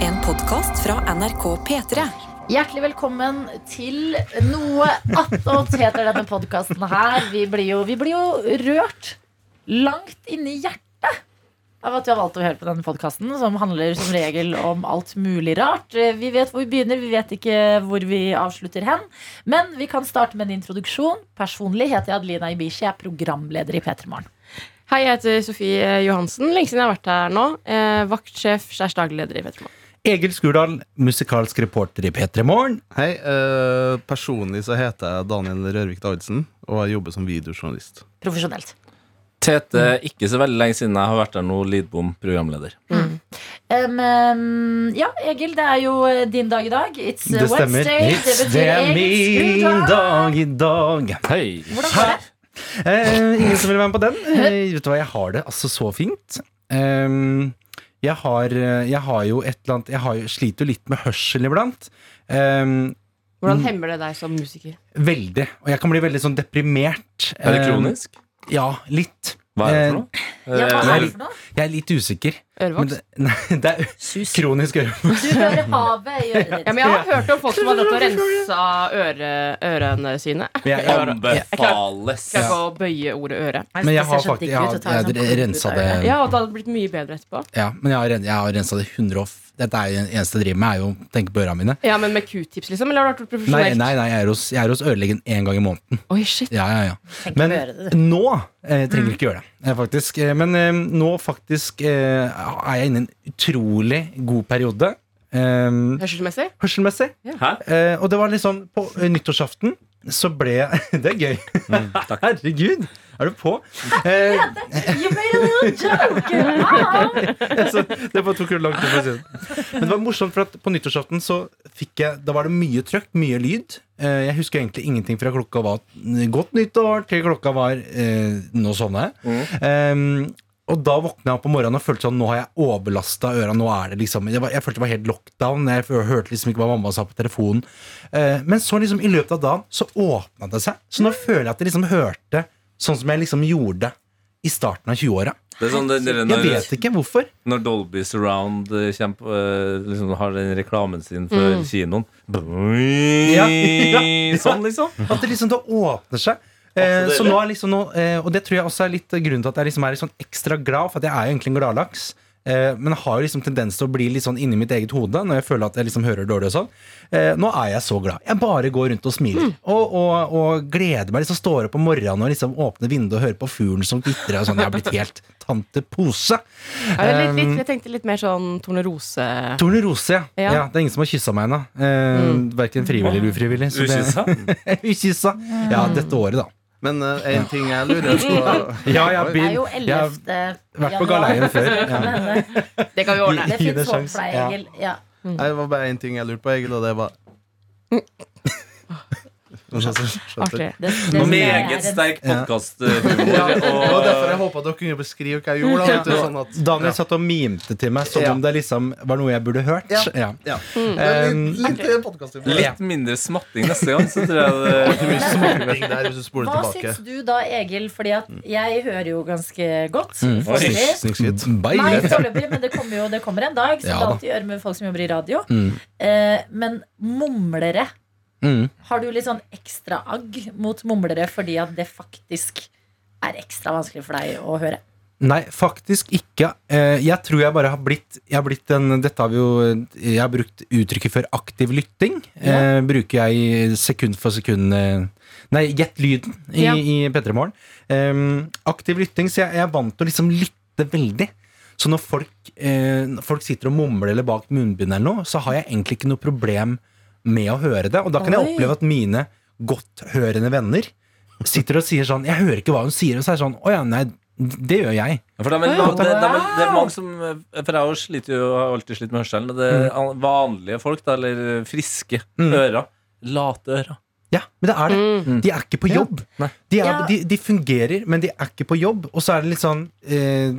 En podkast fra NRK P3. Hjertelig velkommen til noe attåt heter denne podkasten her. Vi blir, jo, vi blir jo rørt langt inni hjertet av at du har valgt å høre på denne podkasten, som handler som regel om alt mulig rart. Vi vet hvor vi begynner, vi vet ikke hvor vi avslutter hen. Men vi kan starte med en introduksjon. Personlig heter jeg Adelina Ibishi, jeg er programleder i P3 Morgen. Hei, jeg heter Sofie Johansen. Lenge siden jeg har vært her nå. Eh, vaktsjef, skjærs daglig leder i Petermann. Egil Skurdal, musikalsk reporter i P3 Morgen. Hei, eh, personlig så heter jeg Daniel Rørvik Davidsen, og jeg jobber som videojournalist. Profesjonelt. Tete, ikke så veldig lenge siden jeg har vært der nå, Lidbom, programleder. Em, em, ja, Egil, det er jo eh, din dag i dag. It's eh, Det stemmer. Wednesday. Det It's- betyr det er Egils min dag. dag i dag. Hei! Hvordan går det? Eh, ingen som vil være med på den? Eh, vet du hva, jeg har det altså så fint. Ehm, jeg, har, eh, jeg har jo et eller annet Jeg har jo, sliter jo litt med hørsel iblant. Ehm, Hvordan hemmer det deg som musiker? veldig. Og jeg kan bli veldig sånn deprimert. Er det Ehm, kronisk? ja, litt. Hva er det for noe? Eh, Eh, Ja, hva er vel- det for noe? Jeg er litt usikker. Men Ørevoks? det, nei, det er kronisk øre. Du hører havet i øret ditt. Ja, men jeg har hørt om folk som har dratt og rensa øre, ørene sine. Jeg Men jeg, Eh, jeg, Anbefales. Skal ikke å bøye ordet øre. Nei, men det jeg ser har så digg ut faktisk Jeg å ta en har sånn jeg klump ut rensa av øret. det Ja, og det hadde blitt mye bedre etterpå. Ja, men jeg har, ren- jeg har rensa det 100 og f- Dette er jo det eneste jeg driver med, er jo å tenke på øra mine. Ja, men med q-tips, liksom? Eller har du vært Nei, profesjonelt? nei, nei jeg, er hos, jeg er hos ødelegen én gang i måneden. Oi, shit. Ja, ja, ja. Tenk Men på øret ditt. nå eh, trenger vi ikke gjøre det, eh, faktisk. Eh, Men eh, nå faktisk eh, er jeg inne i en utrolig god periode. Eh, Hørselsmessig? hørselmessig. Hæ? Eh, og det var liksom på eh, nyttårsaften så ble jeg Det er gøy. Herregud, er du på? Eh, You made a little joke! så det bare tok jo lang tid for å si det. Men det var morsomt, for at på nyttårsaften så fikk jeg Da var det mye trøkk, mye lyd. Eh, Jeg husker egentlig ingenting fra klokka var n- godt nyttår til klokka var eh, nå sovna jeg. Em, og da våkna jeg opp om morgenen og følte sånn nå har jeg overlasta øra. Nå er det liksom, jeg, var, jeg følte det var helt lockdown. Jeg f- hørte liksom ikke hva mamma sa på telefonen. Eh, men så liksom i løpet av dagen så åpna det seg. Så nå føler jeg at jeg liksom hørte sånn som jeg liksom gjorde i starten av 20-åra. Det er sånn det, det, Jeg når, vet ikke hvorfor. når Dolby Surround eh, kjem på, eh, liksom, har den reklamen sin Mm. for kinoen Ja, ja. Sånn, liksom. At det liksom det åpner seg. Eh, Altså, det- så nå er liksom nå, eh, og det tror jeg også er litt grunnen til at jeg liksom er litt sånn ekstra glad, for at jeg er jo egentlig en gladlaks. Eh, men har jo liksom tendens til å bli litt sånn inni mitt eget hode når jeg føler at jeg liksom hører dårlig. og sånn eh, Nå er jeg så glad. Jeg bare går rundt og smiler. Og, og, og gleder meg. liksom Står opp om morgenen og liksom åpner vinduet og hører på fuglen som kvitrer. og sånn. Jeg har blitt helt tante pose. Ja, det er litt, Um, litt, jeg tenkte litt mer sånn tornerose... Tornerose, ja. Ja. ja. Det er ingen som har kyssa meg ennå. Eh, Verken frivillig eller ufrivillig. så det- Ukyssa. Ukyssa. Ja, dette året, da. Men eh, en ting jeg lurer på Ja, jeg Det er har begynt- jo jeg har 11. vært januar. på galeien før. Ja. Kan hende. Det kan vi ordne. Det fins håp Kines for deg, sjans. Egil. Ja. Nei, Det var bare en ting jeg lurte på, Egil, og det var Artig. Skjønte. Det, det Nå Meget er en- sterk eh, Ja, podkasthumor. det var derfor jeg håpa dere kunne beskrive hva jeg gjorde. Da, vet du, sånn at, Daniel satt og mimte til meg som Ja. om det liksom var noe jeg burde hørt. Ja. Ja. ja. Um, Men Litt, eh, litt podcast i Litt mindre smatting neste gang, så tror jeg det morgen. Der, hvis du spoler Hva tilbake. syns du da, Egil? Fordi at jeg hører jo ganske godt. Mm. Mm. Oi. sånn foreløpig. Snikskritt. Nei, Beile. foreløpig, men det kommer jo det kommer en dag. Som Ja det da. alltid gjør med folk som jobber i radio. Mm. Eh, men mumlere Mm. Har du litt sånn ekstra agg mot mumlere fordi at det faktisk er ekstra vanskelig for deg å høre? Nei, faktisk ikke. Eh, Jeg tror jeg bare har blitt Jeg har blitt en Dette har vi jo Jeg har brukt uttrykket før aktiv lytting. Eh, bruker jeg sekund for sekund eh, Nei, gjett lyden i, Ja. i P3 Morgen. Eh, aktiv lytting, så jeg, jeg er vant til å liksom lytte veldig. Så når folk, eh, når folk sitter og mumler eller bak munnbind eller noe, så har jeg egentlig ikke noe problem med å høre det. Og da kan jeg Oi. oppleve at mine godthørende venner sitter og sier sånn Jeg hører ikke hva hun sier, og så er det sånn Å ja, nei, det gjør jeg. For de er, det, det, det er mange som eh, For jeg har jo slitt jo, har alltid slitt med hørselen. og Det er an- vanlige folk, da, eller friske ører. Late ører. Ja, men det er det. Mm. De er ikke på jobb. Nei. De, er, Mm. Ja. de, de fungerer, men de er ikke på jobb. Og så er det litt sånn eh,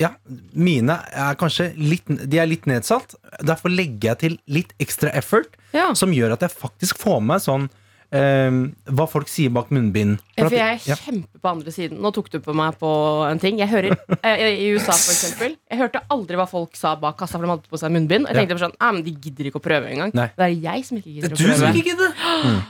Ja, mine er kanskje litt De er litt nedsatt. Derfor legger jeg til litt ekstra effort, Ja. som gjør at jeg faktisk får med sånn eh, hva folk sier bak munnbind. Ja, For For jeg at- er kjempe på andre siden. Nå tok du på meg på en ting. Jeg hører, eh, I USA, for eksempel. Jeg hørte aldri hva folk sa bak kassa, for de hadde på seg munnbind. Og jeg tenkte bare sånn, «Nei, men De gidder ikke å prøve engang. Nei. Det er jeg som ikke gidder å Du prøve. som ikke det?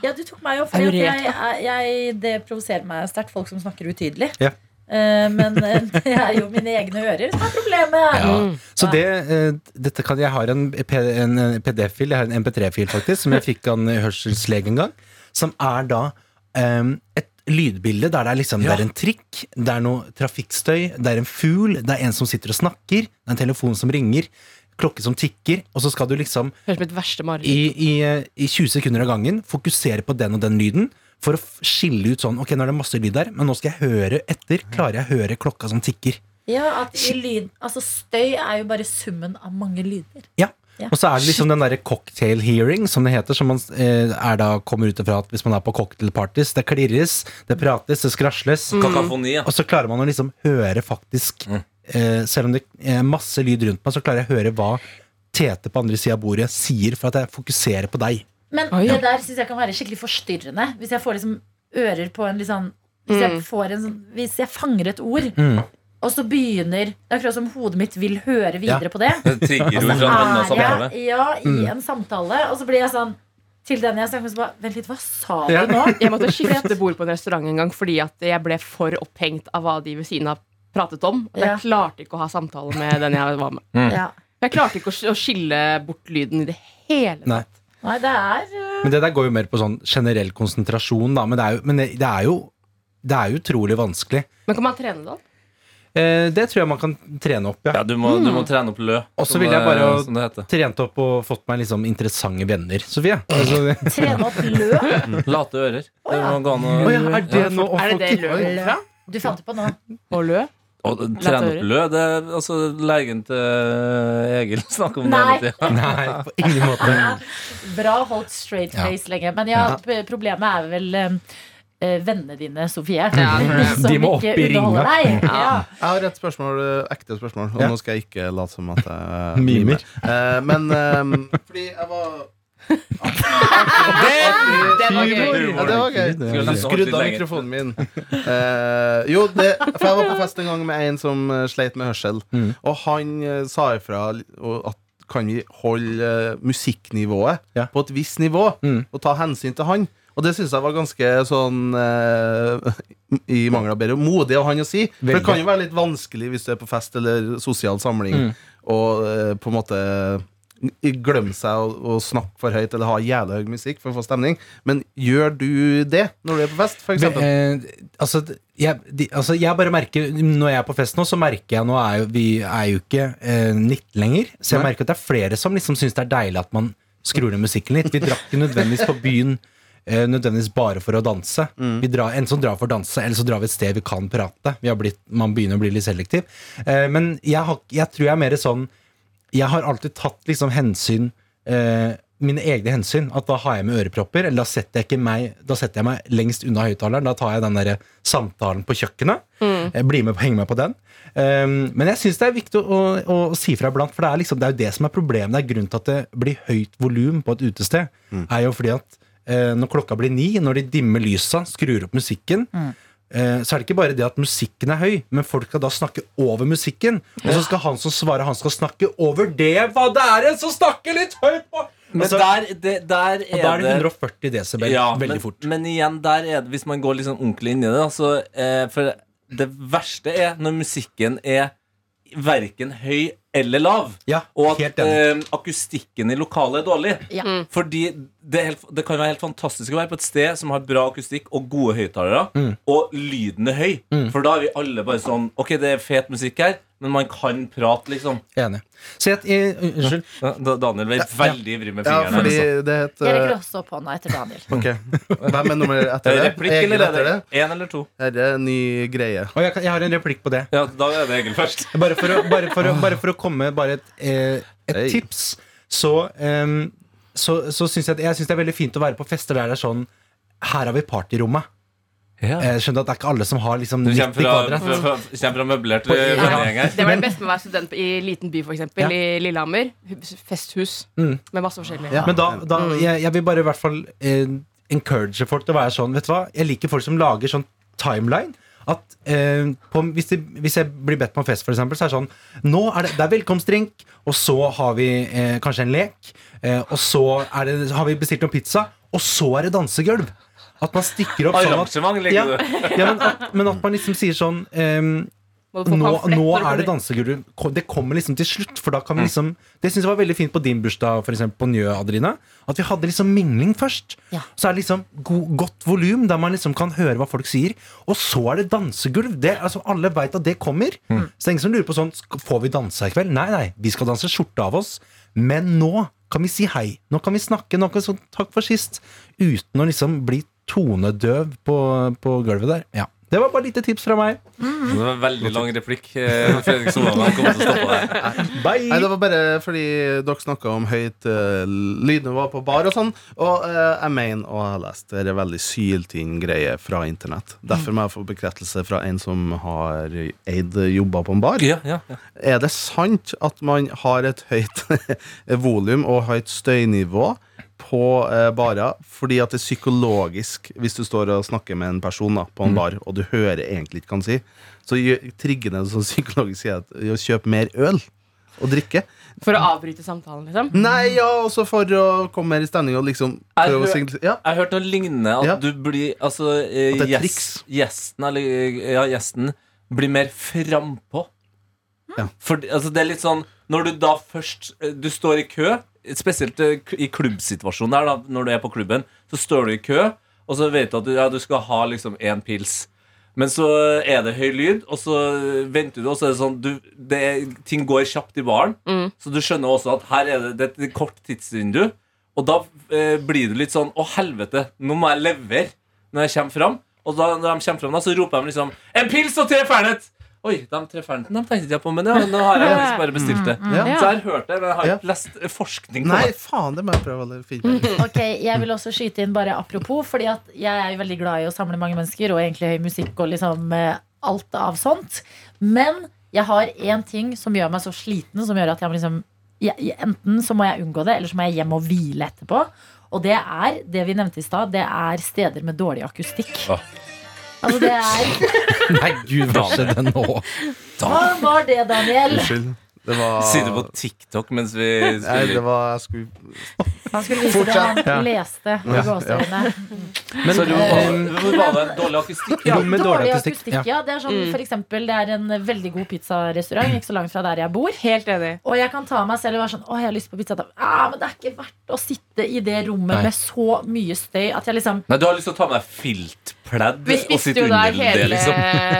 Ja, du tok meg jo Er fordi du at jeg, jeg, Det provoserer meg sterkt, folk som snakker utydelig. Ja. Eh, men eh, det er jo mine egne ører som er problemet. Mm. Så det, eh, dette kan, jeg har en, P- en PDF-fil, jeg har en MP3-fil faktisk, som jeg fikk av en hørselslege en gang, som er da eh, et lydbilde der det er liksom, Ja. det er en trikk, det er noe trafikkstøy, det er en fugl, det er en som sitter og snakker, det er en telefon som ringer, klokke som tikker, og så skal du liksom Høres ut som mitt verste mareritt. i, i, eh, i 20 sekunder av gangen fokusere på den og den lyden, for å f- skille ut sånn, ok, nå er det masse lyd der, men nå skal jeg høre etter, klarer jeg å høre klokka som tikker. Ja, at i lyd, altså Støy er jo bare summen av mange lyder. Ja. Ja. Og så er det liksom den derre cocktail hearing, som det heter, som man eh, er da kommer ut ifra at hvis man er på cocktailpartys, det klirres, det prates, det skrasles, Mm. Kakafoni, ja. Mm. og så klarer man å liksom høre faktisk eh, Selv om det er masse lyd rundt meg, så klarer jeg å høre hva Tete på andre sida av bordet sier for at jeg fokuserer på deg. Men Oi. det der syns jeg kan være skikkelig forstyrrende. Hvis jeg får liksom ører på en litt sånn Hvis jeg, får en sånn, hvis jeg fanger et ord, Mm. og så begynner Det er akkurat som hodet mitt vil høre videre Ja. på det. Det trigger jo fra en annen samtale. Er jeg ja, i en samtale, og så blir jeg sånn til den jeg snakker med, så bare Vent litt, hva sa du Ja. nå? Jeg måtte skifte bord på en restaurant en gang fordi at jeg ble for opphengt av hva de ved siden av pratet om. At jeg Ja. klarte ikke å ha samtale med den jeg var med. Mm. Ja. Jeg klarte ikke å sk- å skille bort lyden i det hele Nei. tatt. Nei, det er eh, Men det der går jo mer på sånn generell konsentrasjon, da. Men det er jo, men det, det er jo, det er jo utrolig vanskelig. Men kan man trene det opp? Eh, det tror jeg man kan trene opp, ja. Ja, du må, du må trene opp lø, Og så som vil jeg det- bare- som det heter. Trent opp og fått meg liksom interessante venner, Sofie. Altså, det- eh, trene opp løp. Late ører. Det må gå an å Å ja, er det Ja, nå å Er det det få- lø kommer fra? Du fant det på nå. Å lø? Og trene opp ører. lø, det er altså legen til eh, Egil snakker om det Nei. hele tida. Nei, på ingen måte. Bra holdt straight face lenge. Men ja, p- problemet er vel eh, vennene dine, Sofie. som De må opp ikke i ringa. underholder deg. Ja. Jeg har et spørsmål, eh, ekte spørsmål, og Ja. nå skal jeg ikke late som at jeg Mimer. Eh, men eh, fordi jeg var Det var gøy. Ja, det var gøy. Det er Du gøy. skrudde av mikrofonen min. Eh, jo, det, for jeg var på fest en gang med en som eh, sleit med hørsel. Mm. Og han eh, sa ifra li- og at kan vi holde eh, musikknivået Ja. på et visst nivå, Mm. og ta hensyn til han. Og det syns jeg var ganske sånn eh, i mangel av bedre modig av han å si. For Veldig. det kan jo være litt vanskelig hvis du er på fest eller sosial samling Mm. og eh, på en måte glemme seg og, og snakke for høyt eller ha jævla høy musikk for å få stemning. Men gjør du det når du er på fest, Men, for eksempel? eh, altså, jeg, de, altså, jeg bare merker Når jeg er på fest nå, så merker jeg Nå er jo, vi er jo ikke eh, 19 lenger, så jeg Nei. merker at det er flere som liksom syns det er deilig at man skrur ned musikken litt. Vi drar ikke nødvendigvis på byen eh, nødvendigvis bare for å danse. Mm. Vi drar, enten så drar vi for å danse, eller så drar vi et sted vi kan prate. Vi har blitt, man begynner å bli litt selektiv. Eh, men jeg, har, jeg tror jeg er mer sånn jeg har alltid tatt liksom hensyn eh, Mine egne hensyn. At da har jeg med ørepropper, eller da setter jeg, ikke meg, da setter jeg meg lengst unna høyttaleren. Da tar jeg den der samtalen på kjøkkenet. Jeg blir med, på- henger med på den. Um, men jeg syns det er viktig å, å, å si fra iblant, for det er, liksom, det er jo det som er problemet. Det er grunnen til at det blir høyt volum på et utested. er jo fordi at eh, når klokka blir ni, når de dimmer lysa, skrur opp musikken, eh, så er det ikke bare det at musikken er høy, men folk skal da snakke over musikken. Og så skal han som svarer, han skal snakke over det hva det er en som snakker litt høyt på! Men Altså, der, det- der og da er det er det 140 desibel Ja, veldig men, fort. Men igjen, der er det, hvis man går liksom ordentlig inn i det, da, så, eh, For det verste er når musikken er verken høy eller lav. Ja, Og at helt enig. eh, akustikken i lokalet er dårlig. Ja. Fordi det, er helt, det kan være helt fantastisk å være på et sted som har bra akustikk og gode høyttalere, og lyden er høy. For da er vi alle bare sånn Ok, det er fet musikk her, men man kan prate, liksom. Enig. Så jeg, eh, unnskyld. Da- Daniel ble veldig ivrig med Ja, fingrene. fordi altså. det het Jeg rekker eh, også opp hånda etter Daniel. Ok. Hvem er nummer etter det? Replikk Egil eller etter det? det? Én eller to? Her er en ny greie. Og jeg, kan- jeg har en replikk på det. Ja, da er det Egil først. Bare for å, bare for å, bare for å komme med bare et, eh, et Hei. tips, så, um, så, så syns jeg, at- jeg synes det er veldig fint å være på fester der det er sånn Her har vi partyrommet. Ja. Jeg skjønner at det er ikke alle som har liksom Du 90 kommer fra, kvadrat. fra, fra, kommer fra møblert På- eh, Ja. vennegjeng her. Det var det beste med å være student i liten by, f.eks. Ja. Mm. eksempel I Lillehammer. Hus- Festhus med masse forskjellig. Ja. Men da, da jeg, jeg vil bare i hvert fall eh, encourage folk til å være sånn, vet du hva, jeg liker folk som lager sånn timeline. At eh, på, hvis, de, hvis jeg blir bedt på en fest, for eksempel, så er det sånn Nå er det, det er velkomstdrink, og så har vi eh, kanskje en lek, eh, og så er det, har vi bestilt noen pizza, og så er det dansegulv. At man stikker opp sånn at Arrangement ja, ligger det. ja, men, at, men at man liksom sier sånn ehm, Må du få nå, pamflett nå når du er det kommer? dansegulv. Ko- Det kommer liksom til slutt. For da kan vi liksom Det syns jeg var veldig fint på din bursdag, for eksempel, på Njø, Adrina. At vi hadde liksom mingling først. Så er det liksom go godt volum, der man liksom kan høre hva folk sier. Og så er det dansegulv. Det, altså, alle veit at det kommer. Så det er ingen som lurer på sånn "Sk- Får vi danse i kveld? Nei, nei. Vi skal danse skjorte av oss. Men nå kan vi si hei. Nå kan vi snakke. Nå kan vi sånn takk for sist. Uten å liksom bli tonedøv på, på gulvet der. Ja. Det var bare et lite tips fra meg. Det var en veldig lang replikk. eh, Fredrik Solvang kommer til å stoppe deg. Bye! Nei, det var bare fordi dere snakka om høyt eh, lydnivå på bar og sånn. Og eh, jeg mener, og jeg har lest, det er veldig syltynn greie fra internett. Derfor må jeg få bekreftelse fra en som har eid jobba på en bar. Ja, ja, ja. Er det sant at man har et høyt volum og høyt støynivå på eh, barer fordi at det er psykologisk hvis du står og snakker med en person da, på en bar, og du hører egentlig ikke hva han sier, så gjør- trigger det sånn psykologisk sier at å kjøpe mer øl og drikke. For å avbryte samtalen, liksom? Nei, ja, også for å komme mer i stemning og liksom Jeg prøve å hø- signalisere ja. Jeg har hørt noe lignende. At Ja. du blir Altså, eh, At det er gjes- triks. gjesten, eller eh, ja, gjesten blir mer frampå. Ja. For altså, det er litt sånn Når du da først eh, Du står i kø, spesielt eh, k- i klubbsituasjonen der, da, når du er på klubben, så står du i kø, og så vet du at du, ja, du skal ha liksom én pils. Men så er det høy lyd, og så venter du, og så er det sånn du, det er, Ting går kjapt i baren, så du skjønner også at her er det, det er et kort tidsvindu. Og da eh, blir du litt sånn Å, helvete, nå må jeg levere når jeg kommer fram. Og da når de kommer fram, da, så roper de liksom En pils og tre fernet! Oi, de tre fernetene de tenkte ikke jeg på, men ja, nå har jeg faktisk bare bestilt det. Mm. Ja. Så jeg har hørt det, men jeg har ikke lest forskning på Nei, det. faen, det må jeg prøve å finne ut. Ok, Jeg vil også skyte inn bare apropos, Fordi at jeg er jo veldig glad i å samle mange mennesker og egentlig høy musikk og liksom eh, alt av sånt. Men jeg har én ting som gjør meg så sliten, som gjør at jeg må liksom jeg, jeg- Enten så må jeg unngå det, eller så må jeg hjem og hvile etterpå. Og det er det vi nevnte i stad, det er steder med dårlig akustikk. Ah. Altså det er Nei, gud, hva skjedde nå? Hva var det, Daniel? Unnskyld. Det var Sitter på TikTok mens vi Nei, det spiller. var Jeg skulle Han skulle vise det han Fortsett. Ja. leste. i Ja, ja. gåseøyne. Men, eh, Så det var, det var en dårlig akustikk, ja. Rom med dårlig akustikk. Ja. Det er sånn, for eksempel, det er en veldig god pizzarestaurant ikke så langt fra der jeg bor. Helt enig. Og jeg kan ta meg selv og være sånn Å, jeg har lyst på pizza. Da- Ah, men det er ikke verdt å sitte i det rommet Nei. med så mye støy at jeg liksom Nei, du har lyst til å ta med deg filtpledd Vi og spiste sitte jo under der hele, det, liksom.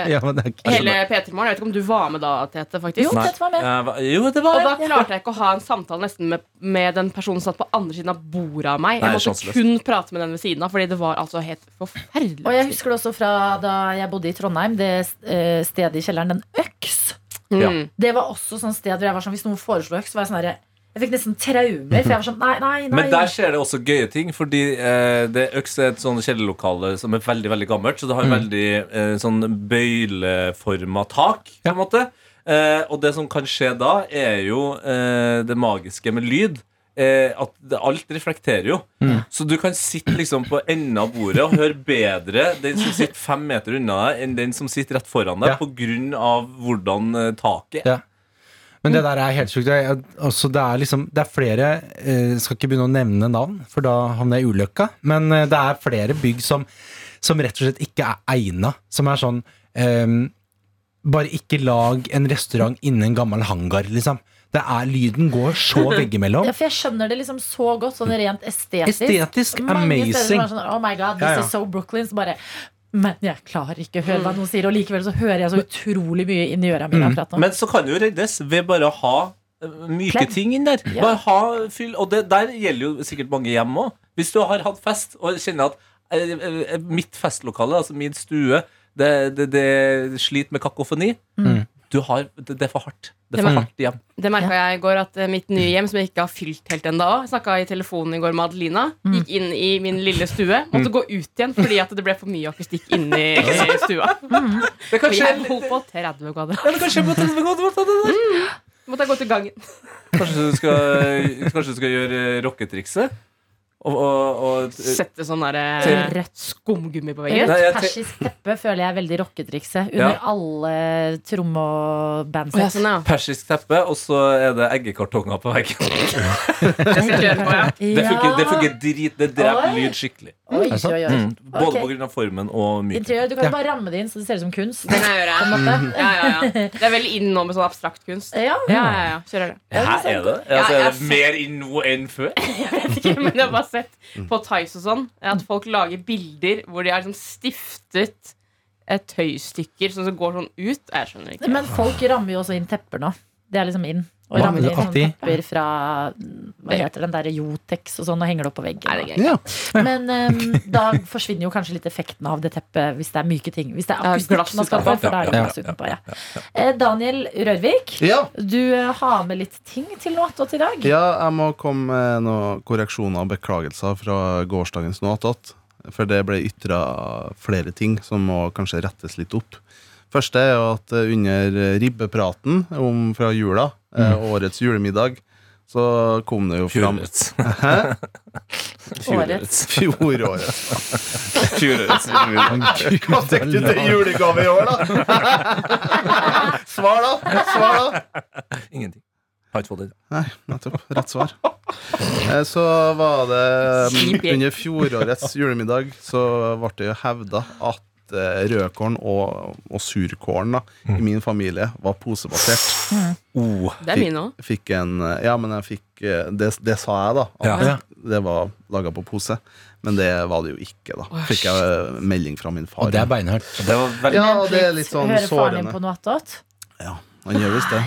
Ja, men det er ikke hele P3-morgen. Jeg vet ikke om du var med da, Tete, Jo, faktisk. Nei. dette var med. Eh, hva- Jo, det var Og da klarte jeg ikke å ha en samtale nesten med, med den personen som satt på andre siden av bordet av meg. Nei, Jeg måtte sjanseløst. kun prate med den ved siden av, fordi det var altså helt forferdelig. Og jeg husker det også fra da jeg bodde i Trondheim, det eh, stedet i kjelleren, den Øks. Ja. Mm. Det var også sånn sted hvor jeg var sånn, hvis noen foreslo Øks, var jeg sånn herre Jeg fikk nesten traumer, for jeg var sånn Nei, nei, nei. Men der skjer det også gøye ting, fordi eh, det Øks er et sånn kjellerlokale som er veldig veldig gammelt. Så det har veldig eh, sånn bøyleforma tak, på en måte. Eh, og det som kan skje da, er jo eh, det magiske med lyd. Eh, at det, alt reflekterer jo. Så du kan sitte liksom på enden av bordet og høre bedre den som sitter fem meter unna deg, enn den som sitter rett foran deg, Ja. på grunn av hvordan eh, taket er. Ja. Men det der er helt sjukt. Jeg- jeg- altså, det, er liksom, det er flere eh, Skal ikke begynne å nevne navn, for da havner jeg i ulykka. Men eh, det er flere bygg som, som rett og slett ikke er egna. Som er sånn ehm, Bare ikke lag en restaurant innen en gammel hangar, liksom. Det er, lyden går så veggimellom. Ja, for jeg skjønner det liksom så godt, sånn rent estetisk. Estetisk Mange steder som amazing. er sånn, oh my god, this Ja, ja. is so Brooklyn, så bare men jeg klarer ikke å høre hva noen sier, og likevel så hører jeg så utrolig mye inn i øra Mm. mine. akkurat nå. Men så kan det jo reddes ved bare å ha eh, myke Pledd. ting inn der. Ja. Bare ha fyll, og det der gjelder jo sikkert mange hjem òg. Hvis du har hatt fest og kjenner at eh, eh, mitt festlokale, altså min stue, det, det, det sliter med kakofoni. Mm. Du har, det, det er for hardt. Det Det er for var- hardt hjem. Det merka jeg i går, at eh, mitt nye hjem, som jeg ikke har fylt helt ennå Snakka i telefonen i går med Adelina. Gikk inn i min lille stue. Måtte gå ut igjen fordi at det ble for mye akustikk inni eh, stua. Det Vi kanskje, er på 30 kvadrat. eller kanskje, på telefonen. Måtte jeg gå til gangen. kanskje, du skal, kanskje du skal gjøre eh, rocketrikset? Og, og, og, eh, Sette sånn der, Til- eh, skumgummi på veggen. Nei, Rødt jeg te- persisk teppe føler jeg er veldig rocketrikset. Under Ja. alle tromme- og Å, ja, bandsett. sånn, ja. persisk teppe, og så er det eggekartonger på veggen. Det funker, det Ja. funker drit. Det dreper Oi. lyd skikkelig. Oi, sant? oi, oi. Mm. Både Ok. på grunn av formen og myken. Interiør. Du kan jo bare ramme det inn så det ser ut som kunst. Det kan jeg gjøre. Ja, ja, ja. Det er veldig inn nå med sånn abstrakt kunst. Ja, Ja, ja, ja. Kjører det. Her er det. Altså, Ja, er jeg det mer inn nå enn før? Ikke, Men jeg har bare sett på Tice og sånn at folk lager bilder hvor de har liksom stiftet eh, tøystykker som så går sånn ut. Jeg skjønner ikke. Men folk rammer jo også inn tepper nå. Det er liksom inn. Og Hva? rammer inn sånne Alltid? tepper fra Hva heter den derre Jotex og sånn, og henger det opp på veggen. Er det gøy? Ja. Men em, da forsvinner jo kanskje litt effekten av det teppet hvis det er myke ting. Hvis det er Ja, akustikk glass man skal få, utenpå. for da er det Ja, ja, glass ja, utenpå. Ja. Eh, Daniel Rørvik, Ja. du eh, har med litt ting til låt og til dag. ja, jeg må komme med noen korreksjoner og beklagelser fra gårsdagens notat. For det ble ytra flere ting som må kanskje rettes litt opp. Første er jo at eh, under ribbepraten om fra jula, eh, årets julemiddag, så kom det jo fram Fjorårets. Hæ? Årets. Fjoråret. Fjorårets. Hva fikk du til julegave i år, da? Svar, da! Svar, da! Ingenting. Har ikke fått det. Nei, nettopp. Rett svar. Eh, Så var det Kjip mm, gjeng. Under fjorårets julemiddag så ble det jo hevda at eh, rødkål og, og surkål da, i min familie var posebasert. Oh. Det er min òg. Fikk en eh, Ja, men jeg fikk eh, Det, det sa jeg, da. At Ja. det var laga på pose. Men det var det jo ikke, da. Fikk jeg eh, melding fra min far. Og det er beinhardt. Det var veldig ja, og det er litt sånn Hører faren din sårende. på noe attåt? Han gjør visst det.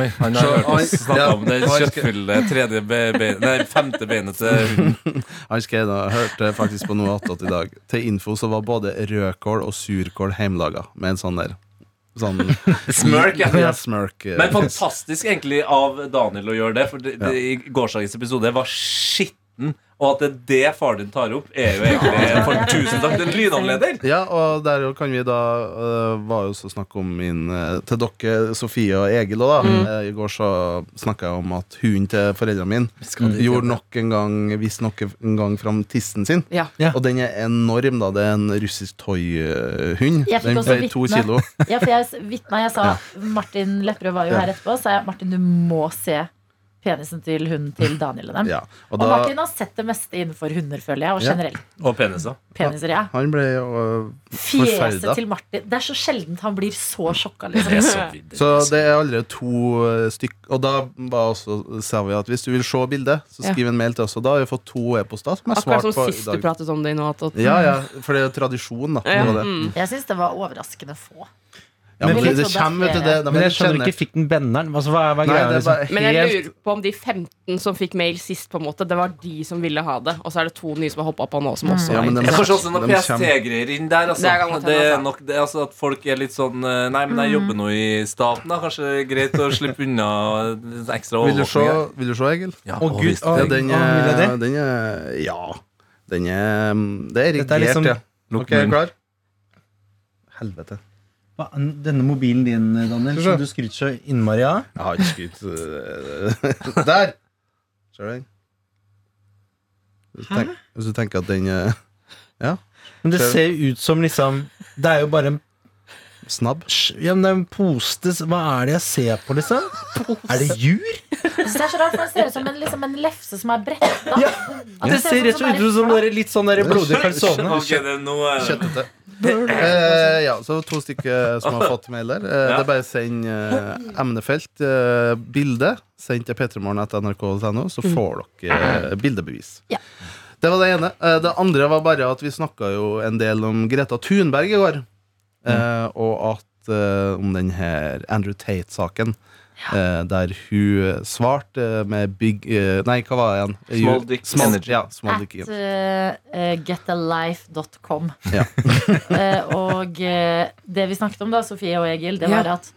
Oi, Han har hørt oss snakke Ja. om det kjøttfulle tredje be- be- Nei, femte beinet til hunden. Han skrev da, hørte faktisk på noe attåt i dag. Til info så var både rødkål og surkål hjemmelaga med en sånn der sånn Smirk, ja. ja, smirk. eh, Men fantastisk egentlig av Daniel å gjøre det, for det, det, i gårsdagens episode var skitten. Og at det er det faren din tar opp, er jo egentlig for tusen takk til en lydanleder. Ja, og der jo kan vi da eh, var jo så snakk om min eh, Til dere, Sofie og Egil òg, da. Eh, I går så snakka jeg om at hunden til foreldrene mine gjorde nok en gang viste nok en gang fram tissen sin. Ja. Ja. Og den er enorm, da. Det er en russisk toyhund. Jeg fikk Den også veier to vitne. kilo. Ja, for jeg s- vitna, jeg sa Martin Lepperød var jo Ja. her etterpå, sa jeg Martin, du må se penisen til hunden til Daniel og dem. Ja. Og Og da, Martin har sett det meste innenfor hunder, føler jeg, og Ja. generelt Og peniser. peniser. ja han ble jo eh, Fjeset Forferda. til Martin Det er så sjeldent han blir så sjokka. Liksom. Det er så vidt. Så det er allerede to eh, stykk Og da var også, sa vi at hvis du vil se bildet, så Ja. skriv en mail til oss. Og da har vi fått to e-poster som er Akkurat svart som på sist du i dag. pratet om det i noe attåt. Ja, ja, for det er jo tradisjon, da. Det Ja, var det. mm. Jeg syns det var overraskende få. Ja, men Men det, jeg det trodde at kommer, vet du. Det, flere- de Men jeg skjønner kjenner- ikke, fikk den benderen? Altså, hva er, hva er Nei, greia? det er liksom? bare Men jeg helt lurer på om de 15 som fikk mail sist, på en måte det var de som ville ha det. Og så er det to nye som har hoppa på nå, som også Ja, har men det. de- Jeg får også noen De kjem- PST-greier inn der. Altså. Det er gammelt, Det altså. er nok det, altså, At folk er litt sånn eh, Nei, men jeg jobber nå i staten, da. Kanskje det er greit å slippe unna litt ekstra Vil du, se, overvåkning? vil du se, Egil? Ja, Å, og Gud, visst, å, Ja, det- den vil jeg er, det? den er Ja. Den er mm, Det er Dette er erigert, liksom- ja. Lukk Ok, er du munnen. klar? Helvete. Hva, denne mobilen din, Daniel, Skal som vi du skryter så innmari av. Jeg har ikke skutt øh, Der! Ser du den? Hvis du, tenk, hvis du tenker at den er Men det Skjønner. ser jo ut som liksom Det er jo bare en, snabb ja, men det er en poste Hva er det jeg ser på, liksom? Er det jur? Jeg synes det er så rart, for det ser ut som en, liksom en lefse som er bretta. Ja. At Det ser rett og slett ut som bare- dere, litt sånn der blodig calzone. Ok, det er noe- Kjøttete. Eh, ja, så to stykker eh, som har fått mail der. Eh, Ja. Det er bare å sende eh, emnefelt eh, bilde. Send til p3morgen.nrk.no, så får dere eh, bildebevis. Mm. Ja. Det var det ene. Eh, det andre var bare at vi snakka jo en del om Greta Thunberg i går. Mm. Eh, og at eh, om den her Andrew Tate-saken. Eh, der hun svarte eh, med big eh, Nei, hva var det igjen? Small dick energy. Ja, small dick At eh, getalife.com. Ja. Eh, og eh, det vi snakket om, da, Sofie og Egil, det var Ja. at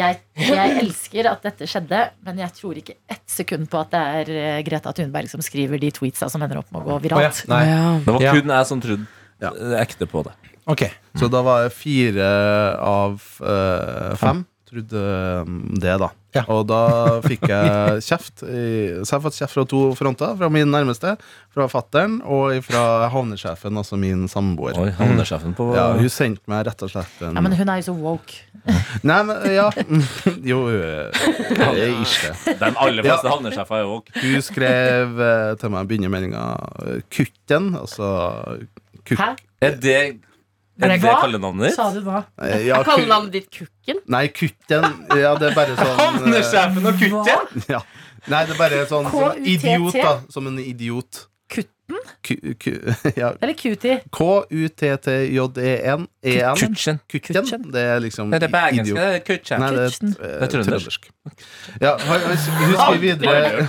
jeg, jeg elsker at dette skjedde, men jeg tror ikke ett sekund på at det er eh, Greta Thunberg som skriver de tweetsa som ender opp med å gå viralt. Nei. Det var Ja. kun jeg som trodde Ja. eh, ekte på det. Ok. Så da var jeg fire av eh, fem, trodde um, det, da. Ja. Og da fikk jeg kjeft. i- Så jeg har fått kjeft fra to fronter. Fra min nærmeste, fra fattern, og fra havnesjefen, altså min samboer. Oi, havnesjefen på Ja, hun sendte meg rett og slett en Ja, men hun er jo så woke. Nei, men ja Jo, øh, det er ikke det. De aller fleste havnesjefer er jo ok. Hun skrev eh, til meg begynnermeldinga Kutt den, altså kuk, Hæ? Er det, er det Hva? kallenavnet ditt? Sa du hva? eh, ja, Kaller ku, navnet ditt Kukken? Nei, kutt den. Ja, det er bare sånn eh, og kutten? ja. Nei, det er bare sånn som en idiot, da. Som en idiot. Kutten? Ku, ku, ja. Eller cutie? K-U-T-T-J-E-N. E-N. Kutchen. Kutten. Det er liksom Er det bergensk? idiot. Det er kutchen. Nei, det er Kutchen. eh, Det er trøndersk. Ja, hun hun skriver videre.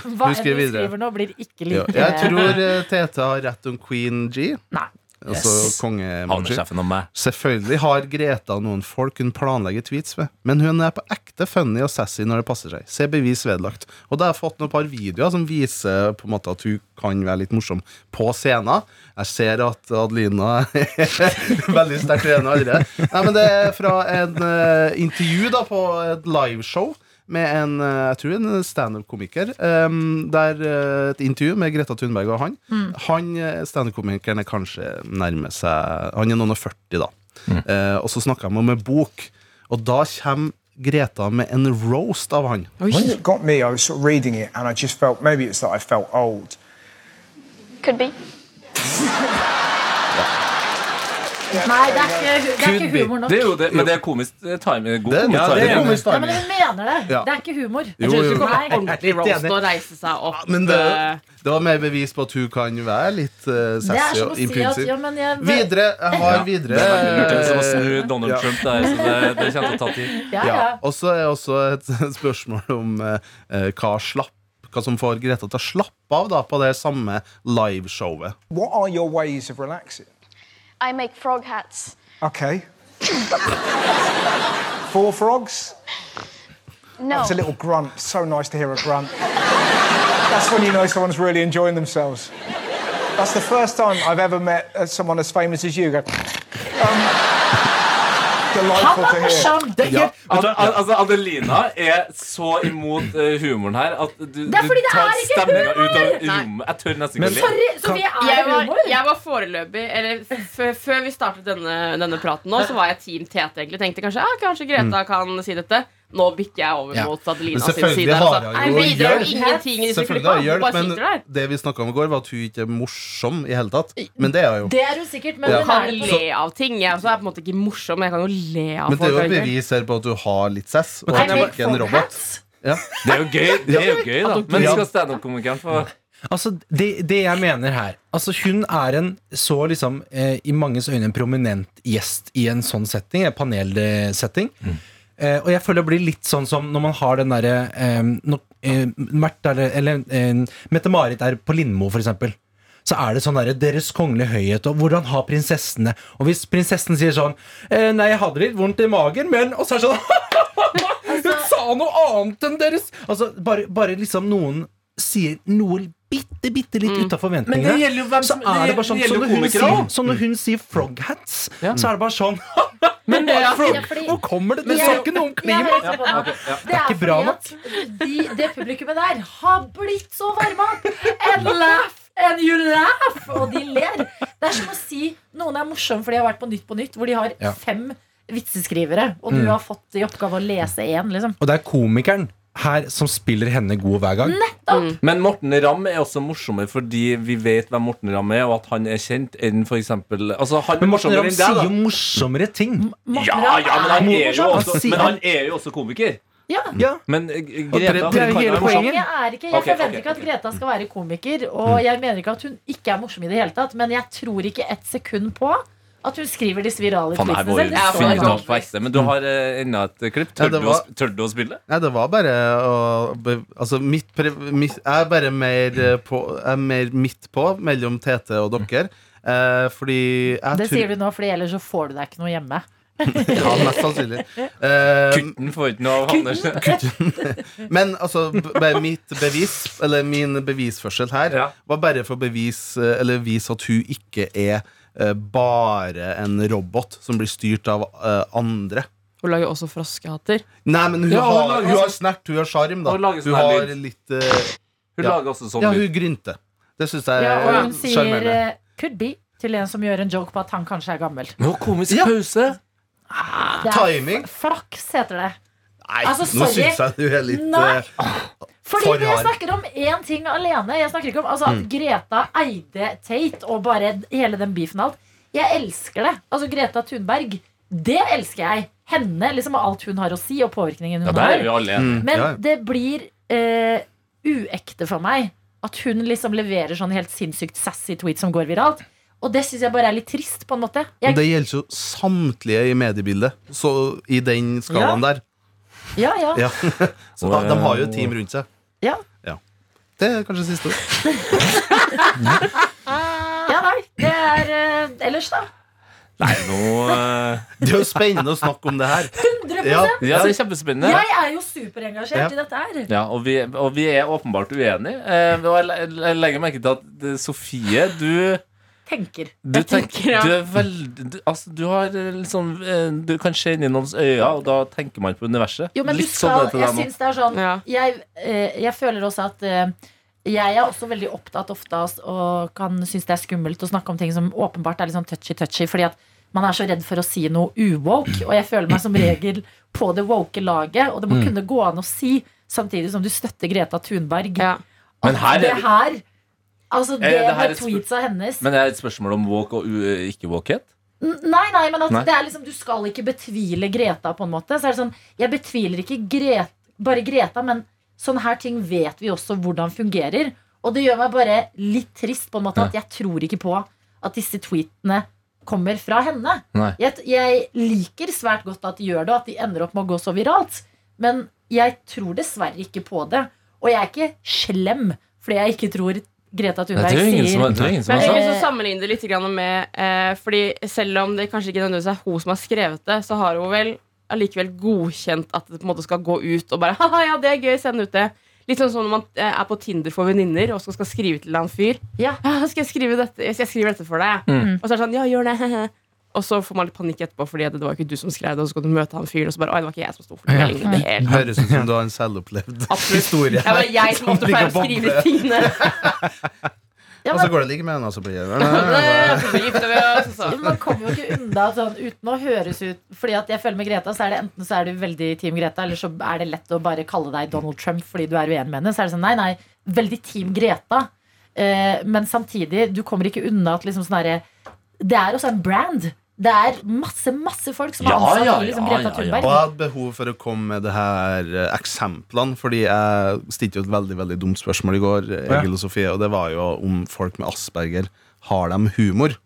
Hva Hun enn vi skriver videre. skriver nå, blir ikke Ja, like jeg tror eh, Tete har rett om Queen G. Nei. Altså Yes. konge-emoji. Havnesjefen og meg. Selvfølgelig har Greta noen folk hun planlegger tweets med, men hun er på ekte funny og sassy når det passer seg. Se bevis vedlagt. Og da har jeg fått noen par videoer som viser på en måte at hun kan være litt morsom på scenen. Jeg ser at Adelina er veldig sterkt uenig allerede. Nei, men det er fra en eh, intervju da på et liveshow. Med en eh, jeg tror en standup-komiker. Um, der eh, Et intervju med Greta Thunberg og han. Mm. Han eh, Standup-komikeren er kanskje nærmer seg Han er noen og 40, da. Mm. Eh, og så snakka han om en bok, og da kommer Greta med en roast av han. It got me. I was sort of reading it, and I just felt maybe it's that I felt old. Could be. Nei, det er ikke, det er ikke Could be. humor nok. Det er jo det, men det er komisk eh, time. eh, God, Det er ja, det er komisk Ja, men hun mener det. Ja. Det er ikke humor. Jo, Jeg tror det jo. skulle komme Nei. ordentlig roast enig. og reise seg opp. Men det, eh, det var mer bevis på at hun kan være litt Det eh, er sassy som å og si at impulsiv. ja, men jeg, Videre. Jeg har videre. Det er lurt en som å eh, snu Donald ja. Trump der, så det, det kommer til å ta tid. Ja, ja. Ja. Og så er også et spørsmål om eh, eh, hva slapp hva som får Greta til å slappe av da, på det samme liveshowet. What are your ways of relaxing? I make frog hats. Okay. Four frogs. No. It's a little grunt. So nice to hear a grunt. That's when you know someone's really enjoying themselves. That's the first time I've ever met uh, someone as famous as you. Go. Um, Han delightful er to hear. morsom! Det er, Al al altså Adelina er så imot eh, humoren her at du, Det er fordi det du tar er ikke stemninga ut av Nei. rommet. Jeg tør nesten ikke å le. sorry, så vi er jeg var, humor. jeg var foreløpig Eller f før vi startet denne, denne praten nå, så var jeg Team Tete, egentlig. Tenkte kanskje ah, kanskje Greta kan si dette. Nå bikker jeg over Ja. mot Adelina Mm. Men sin selvfølgelig side. har Altså. jeg Jeg jo bidrar jo hjelp. ingenting i disse Selvfølgelig klippa. har hun Hun hjelp, bare men sitter der. det vi snakka om i går, var at hun ikke er morsom i hele tatt. Men det er hun jo. Det er hun sikkert, men Ja. hun Kan er det på- le av ting. Jeg også er på en måte ikke morsom, men jeg kan jo le av Men det folk. er jo et jeg- bevis her på at du har litt sass, og I at du make ikke er en frog robot. hats. Ja. Det er jo gøy, det er jo gøy da. Men Ja. skal standup-komikeren få Altså, det, det jeg mener her Altså, hun er en så liksom eh, I manges øyne en prominent gjest i en sånn setting, en panelsetting. Eh, og jeg føler det blir litt sånn som når man har den derre eh, når, eh, Märtha eller, eller eh, Mette-Marit er på Lindmo, for eksempel. Så er det sånn derre Deres kongelige høyhet, og hvordan har prinsessene Og hvis prinsessen sier sånn eh, Nei, jeg hadde litt vondt i magen, men Og så er det sånn Hun sa noe annet enn deres! Altså, bare, bare liksom noen sier noe bitte, bitte litt ut av Mm. Men det forventningene. gjelder jo hvem Så som- er det det bare sånn gjelder Som jo når hun komikere sier, også. som når hun sier frog hats, så er det bare sånn Men det er Ja, fordi- Nå kommer det! Du Jeg- sa ikke noe om Jeg klima! har rett på det. Det er ikke bra fordi at de, det publikummet der har blitt så varma opp. And laugh and you laugh! Og de ler. Det er som å si noen er morsomme fordi de har vært på Nytt på Nytt, hvor de har Ja. fem vitseskrivere, og du har fått i oppgave å lese én, liksom. Og det er komikeren her som spiller henne god hver gang. Men Morten Ramm er også morsommere fordi vi vet hvem Morten Ramm er, og at han er kjent enn for eksempel altså, han er Men Morten morsommere Ramm enn deg, sier da. jo morsommere ting. Mm. Ja, ja, men han er jo Han også, sier- men han er jo også komiker. Ja. Ja. Men eh, det- Greta det er jo kan hele være morsom. poenget. Jeg, er ikke, jeg Ok, forventer ok. Mm. ikke at Greta skal være komiker, og jeg mener ikke at hun ikke er morsom i det hele tatt, men jeg tror ikke et sekund på at hun skriver disse virale Faen, det her tweetsene må selv. Det finne jo står finnes ut bak. opp på ekte. Men du har eh, enda et klipp. Ja, Tør, det du, å, var- sp- tør du å spille? Nei, det var bare å be- Altså, mitt, pre, mitt Jeg er bare mer eh, på Jeg er mer midt på mellom Tete og dere. Eh, fordi jeg Det tror sier du nå, for ellers så får du deg ikke noe hjemme. Ja, mest sannsynlig. Eh, Kutten får ikke noe av Anders. men altså, b- bare mitt bevis, eller min bevisførsel her, Ja. var bare for å bevise Eller vise at hun ikke er eh, bare en robot som blir styrt av eh, andre. Hun lager også froskehatter. Nei, men hun, Ja, hun har, lager hun har sånn- snert, hun har sjarm, da. Hun lager Hun sånn her har lyd. litt eh, Hun Ja. lager også sånn Ja, lyd. hun grynter. Det syns jeg Ja, og er hun sier eh, sjarmerende. 'could be' til en som gjør en joke på at han kanskje er gammel. Nå, komisk Ja. pause. Det er Timing? flaks, heter det. Nei, eh, Altså, nå sorry. syns jeg du er litt Nei. eh, Fordi For Mm. jeg hard. snakker om én ting alene. Jeg snakker ikke om altså, at Greta eide Tate og bare hele den beefen og alt. Jeg elsker det. Altså Greta Thunberg. Det elsker jeg. Henne liksom, og alt hun har å si, og påvirkningen hun Ja, der er har. vi alle enige. mm, Men ja, ja. det blir eh, uekte for meg at hun liksom leverer sånn helt sinnssykt sassy tweet som går viralt. Og det syns jeg bare er litt trist, på en måte. Jeg, Men Det gjelder jo samtlige i mediebildet, så i den skalaen der. ja, ja. Ja. Så da, de har jo et team rundt seg. Ja. Det er kanskje siste ord. ja nei, det er eh, ellers, da. Nei, nå eh, Det er jo spennende å snakke om det her. 100 Ja, Ja, det er kjempespennende. Jeg er jo superengasjert Ja. i dette her. Ja, og vi, og vi er åpenbart uenige. Eh, og jeg, le- jeg legger merke til at eh, Sofie, du Tenker. du, Jeg tenk, tenker, ja. du er veldig du, altså, du har eh, liksom eh, Du kan se inn i noens øyne, og da tenker man på universet. Jo, men du Litt skal, sånn er det til jeg deg nå. syns det er sånn Ja. jeg, eh, jeg føler også at eh, jeg er også veldig opptatt ofte av s- og kan synes det er skummelt å snakke om ting som åpenbart er litt sånn touchy-touchy, fordi at man er så redd for å si noe uwoke, og jeg føler meg som regel på det woke laget, og det Mm. må kunne gå an å si, samtidig som du støtter Greta Thunberg. Ja. at Men her er det vi- her Altså, det, Eh, det her er med et spør- tweetsa hennes Men det er et spørsmål om walk og u- ikke-walkhet. N- Nei, nei, men at Nei. det er liksom Du skal ikke betvile Greta på en måte Så er det sånn, jeg betviler ikke Gre- Bare Greta, men sånne her ting Vet vi også hvordan fungerer Og det gjør meg bare litt trist på en måte At jeg tror ikke på at disse tweetene Kommer fra henne Nei. jeg, jeg liker svært godt at de gjør det Og at de ender opp med å gå så viralt Men jeg tror dessverre ikke på det Og jeg er ikke slem Fordi jeg ikke tror Greta Nei, Thunberg det er jo ingen som, sier det er jo ingen som Men har jeg sagt vil sant. så sammenligne det litt grann med eh, Fordi selv om det kanskje ikke nødvendigvis er hun som har skrevet det, så har hun vel allikevel godkjent at det på en måte skal gå ut og bare Haha, ja, det er gøy, send ut det. Litt sånn som når man eh, er på Tinder for venninner og så skal skrive til en fyr. Ja. «Ja, skal jeg skrive dette, jeg skal skrive dette for deg? Og så er det sånn, ja, gjør det. Og så får man litt panikk etterpå, fordi det var ikke du som skrev det. Og så kan du møte han fyren, og så bare Oi, det var ikke jeg som sto for det. Jeg ligner det helt. Høres ut som du har en selvopplevd Absolutt. historie. Det var jeg som ofte pleier å skrive tingene. Ja, Og Altså, men- så går det like med altså, henne, og så blir det Så gifter vi oss, altså. og så. Men Man kommer jo ikke unna sånn uten å høres ut Fordi at jeg føler med Greta, så er det enten så er du veldig Team Greta, eller så er det lett å bare kalle deg Donald Trump fordi du er uenig med henne. Så er det sånn, nei, nei, veldig Team Greta. Eh, men samtidig, du kommer ikke unna at liksom sånn herre Det er også en brand. Det er masse, masse folk som er Ja, ansatt ja, i liksom ja, Greta ja, ja. Thunberg. Og jeg hadde behov for å komme med det her eh, eksemplene, fordi jeg stilte jo et veldig veldig dumt spørsmål i går, eh, Egil og Sofie, og det var jo om folk med Asperger har de humor.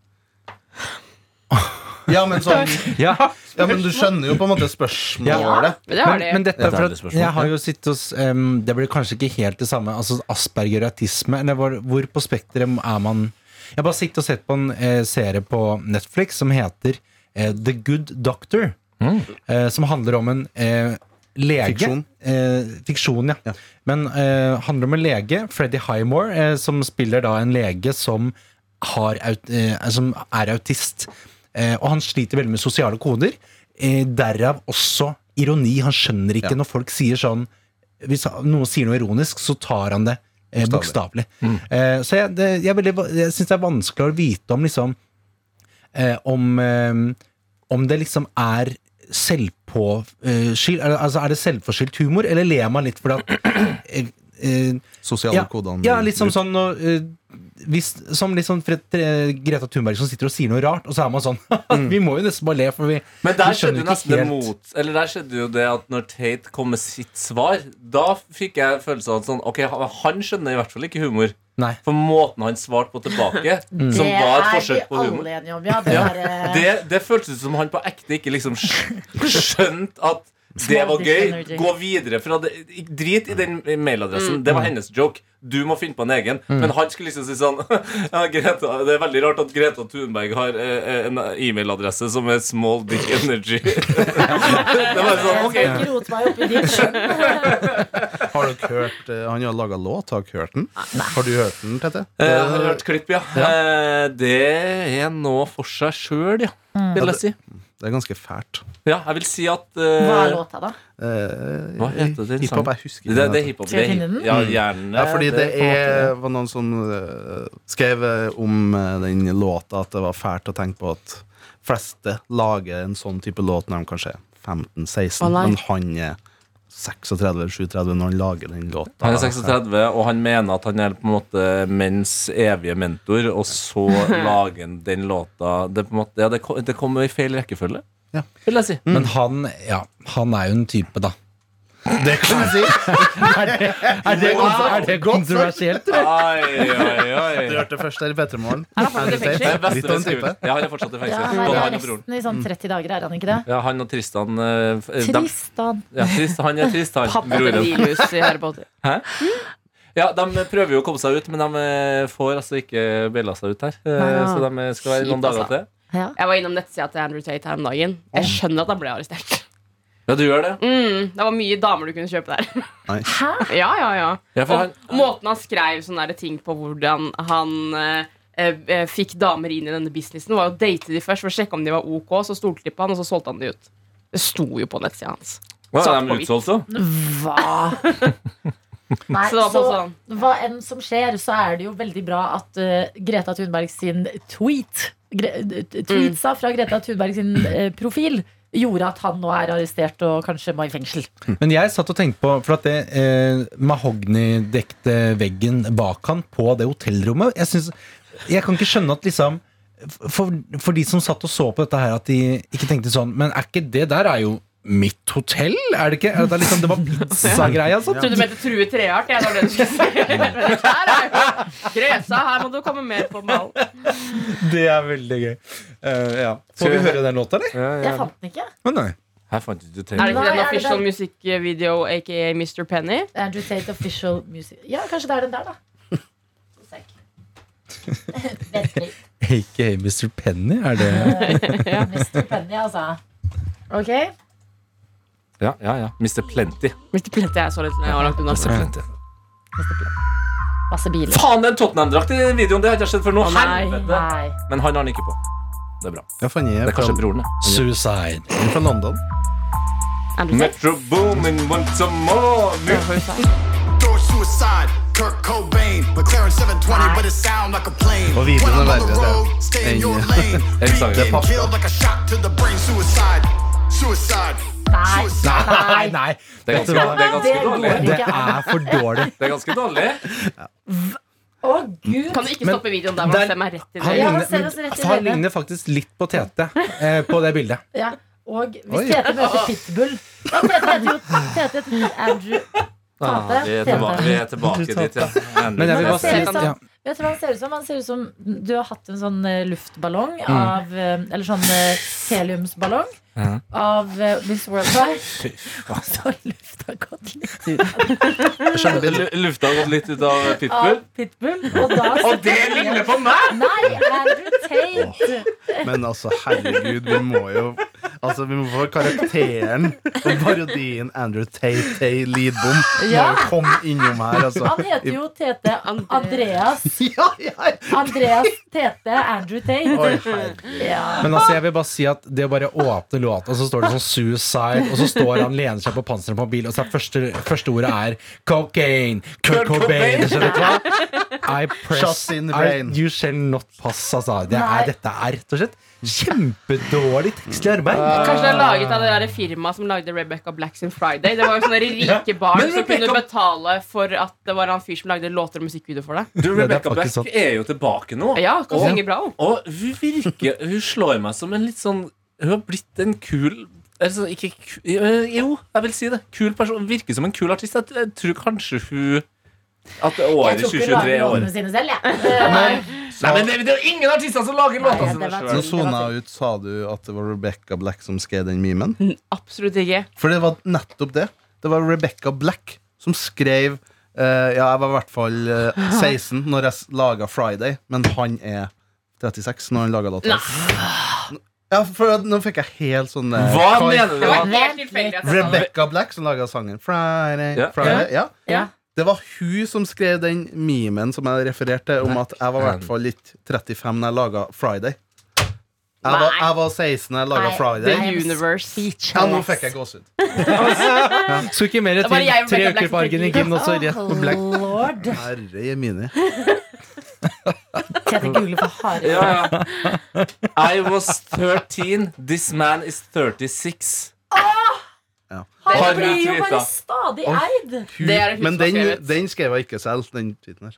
Ja, men sånn Ja. Ja, men du skjønner jo på en måte spørsmålet. Men det Men, har de. men dette Dette er er for et at spørsmål. jeg har jo sittet hos em, Det blir kanskje ikke helt det samme. Altså Asperger og autisme. Eller hvor, hvor på Spektrum er man Jeg har bare sittet og sett på en eh, serie på Netflix som heter eh, The Good Doctor. Eh, som handler om en eh, lege Fiksjon. Eh, fiksjon, ja. Men eh, handler om en lege, Freddy Highmore, eh, som spiller da en lege som, har, aut- eh, som er autist. Eh, og han sliter veldig med sosiale koder. Eh, derav også ironi. Han skjønner ikke når folk sier sånn Hvis noen sier noe ironisk, så tar han det eh, bokstavelig. Eh, så jeg, det, jeg, er veldig va- jeg syns det er vanskelig å vite om liksom eh, om, eh, om det liksom er selvpåskyld Altså er det selvforskyldt humor, eller ler man litt fordi at eh, eh, Sosiale ja, kodene. ja, litt som sånn når, eh, hvis, Som litt sånn Fred, eh, Greta Thunberg som sitter og sier noe rart, og så er man sånn Vi må jo nesten bare le, for vi, Men vi der skjønner skjedde jo ikke nesten det helt mot Eller der skjedde jo det at når Tate kom med sitt svar, da fikk jeg følelsen av at sånn Ok, han- han skjønner i hvert fall ikke humor. Nei. For måten han svarte på tilbake, som var et forsøk på humor Det er vi alle enige om. Ja, det Ja, er, eh, det, det føltes ut som han på ekte ikke liksom skj- skjønte at det Small var dish gøy. energy. Gå videre fra det. Ik- Drit i den mailadressen. Det var Mm. hennes joke. Du må finne på en egen. Men han skulle liksom si sånn ja, Greta, Det er veldig rart at Greta Thunberg har eh, en e-mailadresse som er small dick energy. det var sånn, Jeg ok skal ikke rote meg opp i ditt skjønn. Har dere hørt eh, Han har laga låt, har dere hørt den? Har du hørt den, Tete? Eh, Jeg Mm. har hørt klipp, ja. Eh, Det er noe for seg sjøl, ja. Vil jeg si. Det er ganske fælt. Ja, jeg vil si at Hva eh, er låta, da? Eh, Hva heter den Hiphop, sangen? jeg husker Det, det er den. hiphop. Skal jeg det er finne den? hip- Ja, gjerne. Mm. Ja, fordi det på en måte er, var noen som eh, skrev eh, om eh, den låta at det var fælt å tenke på at fleste lager en sånn type låt når de kanskje er 15-16, Å, nei. men han er 36-37 når han lager den låta. Han er 36, og han mener at han er på en måte menns evige mentor, og så lager han den låta Det, er på en måte, ja, det, kom, det kommer i feil rekkefølge, Ja. vil jeg si. Men han, ja, han er jo en type, da. Det kan du si! Er det, kontroversielt? Ai, ai, Du ai. hørte det først her i Petremorgen. Er han fortsatt i Det er fengsel? beste Litt av en beskrivelsen. Ja, han er fortsatt i Ja, fengsel. han er Både han og broren. arresten i sånn 30 dager, er han ikke det? Ja, han og Tristan eh, f- eh, dem- Tristan. Ja, trist, han er trist, han. Pappa til Broren. Nilus i Harry Potter. Ja, de prøver jo å komme seg ut, men de eh, får altså ikke baila seg ut her. Eh, Nei, ja. Så de skal være Kjipt, noen dager altså. til. Ja. Jeg var innom nettsida til Andrew Tate her om dagen. Jeg skjønner at han ble arrestert. Ja, du gjør det? Mm, det var mye damer du kunne kjøpe der. Hæ? Ja, ja, ja. Ja, for han, Og måten han skrev sånne der ting på hvordan han eh, eh, fikk damer inn i denne businessen, var å date de først for å sjekke om de var ok, så stolte de på han, og så solgte han de ut. Det sto jo på nettsida hans. Hva, satt er på de hvitt. utsolgt, da? Hva? Nei, Så det var så bare sånn hva enn som skjer, så er det jo veldig bra at eh, Greta Thunberg sin tweet gre Tweetsa fra Greta Thunberg sin eh, profil gjorde at han nå er arrestert og kanskje må i fengsel. Men jeg satt og tenkte på For at det eh, mahognidekte veggen bak han på det hotellrommet Jeg, synes, jeg kan ikke skjønne at liksom for, for de som satt og så på dette her, at de ikke tenkte sånn Men er ikke det der er jo mitt hotell? Er det ikke? Er det, liksom, det var pizzagreia. Jeg Sånn. Trodde du mente True Treart. Jeg, det var det du skulle si. Her er jo Gresa, her må du komme mer på ballen. Det er veldig gøy. Eh, ja. Får vi høre den låta, eller? Jeg fant den ikke. Men nei. Her fant du Er det til. ikke Nei, er den det official den? musikkvideo, aka Mr. Penny? Andrew Tate official music Ja, kanskje det er den der, da. Skal vi se. Vent litt. Aka Mr. Penny, er det Mr. Penny, altså. Ok. Ja, ja, ja. Mr. Plenty. Mr. Plenty er så litt jeg var langt Altså, unna. Masse biler. Faen, den Tottenham-drakt i den videoen! Det har jeg ikke sett før nå. Å, nei. Helvete! Nei. Men han har den ikke på. Det er bra. Ja, for han Det er er fra, kanskje broren, det. Suicide? han er fra London. Andrew Tate? Metro booming once more. Throw suicide, Kurt Cobain, McLaren 720, but it sound like a plane. Og videoen When I'm er on the verre, road, det. stay in your Den- lane. Den sangen. Beat Det passer. killed like a shot to the brain. Suicide, suicide, Nei. suicide. Nei, nei. Det er ganske, det er Det ganske går dårlig. Det ikke an. er for dårlig. Det er ganske dårlig. Å, gud. Kan du ikke Men stoppe videoen der hvor der- han ser meg rett i Han, det? Ja, han ligner, ser men, oss rett i altså, han øynene. ligner faktisk litt på Tete eh, på det bildet. Ja, og Oi. hvis Tete møter Pitbull Ja, Tete heter jo Tete heter Andrew Ah, Tete, vi, er Tete. tilbake, vi er tilbake dit, ja. Men jeg vil bare Men ser si ut som- ja. Vet du hva han ser ut som? Han ser ut som du har hatt en sånn eh, luftballong av eh, Eller sånn eh, heliumsballong Mm. Ja. av eh, Miss Worldwide. Og så har lufta gått litt Lu- Lufta har gått litt ut av av Pitbull. Pitbull. Og da Og det ligner på meg! Nei, Andrew Tate! Men altså, herregud, vi må jo Altså, vi må få karakteren og parodien Andrew Tate Tay Lidbom må Ja. jo komme innom her, altså. Han heter jo Tete Andreas. Ja, ja, ja. Andreas Tete Andrew Tate. Oi, herregud. Ja. Men altså, jeg vil bare si at det å bare åpne låta, og så står det sånn 'Suicide', og så står han lener seg på panseret på en bil, og så er første, første ordet er 'Cocaine'. Kurt Cobain. Så vet du hva? I press Shots in the I, brain. You shall not pass, altså. Det Nei. er, dette er rett og slett kjempedårlig tekstlig arbeid. Kanskje det er laget av det der firmaet som lagde Rebecca Black sin Friday. Det var jo sånne rike barn Men som kunne Rebecca- betale for at det var han fyr som lagde låter og musikkvideo for det. Du, det er Rebecca faktisk Black er jo tilbake nå. Ja, kan Og- synge bra hun. Og hun virker Hun slår meg som en litt sånn Hun har blitt en kul altså, ikke, ku- øh, Jo, jeg vil si det. Kul person. Hun Virker som en kul artist. Jeg, jeg tror kanskje hun At det Jeg året tror ikke hun lager 2023 er låtene året. sine selv, jeg. Nei, men det, det er jo ingen artister som lager låtene Nei, sine det var Nå sjøl. sona jeg ut, sa du at det var Rebecca Black som skrev den memen? Absolutt ikke. For det var nettopp det. Det var Rebecca Black som skrev eh, Ja, jeg var i hvert fall eh, 16 når jeg laga Friday, men han er 36 når han laga låta. Ja, for at nå fikk jeg helt sånn eh, Hva hva- mener du? Det var da? helt tilfeldig at jeg sa det. Rebecca Black som laga sangen Friday, Ja. Friday. Ja. Ja. Det var hun som skrev den memen som jeg refererte til, om at jeg var i hvert fall litt 35 når jeg laga Friday. Jeg var, jeg var 16 da jeg laga Nei, Friday. The Universe. Ja, nå fikk jeg gåsehud. Skulle ikke mer Det var til. jeg og Tre Rebecca Black uker på som fikk Argentin, og så rett Oh, på Black. lord. Herre mine. Tete Gule for harde. Ja, ja. I was 13, this man is 36. Ja. Har Han hun blir jo bare tweetet? stadig Oi. eid. Det er det Men hun som har den, skrevet. den skrev jeg ikke selv, den tweeten her.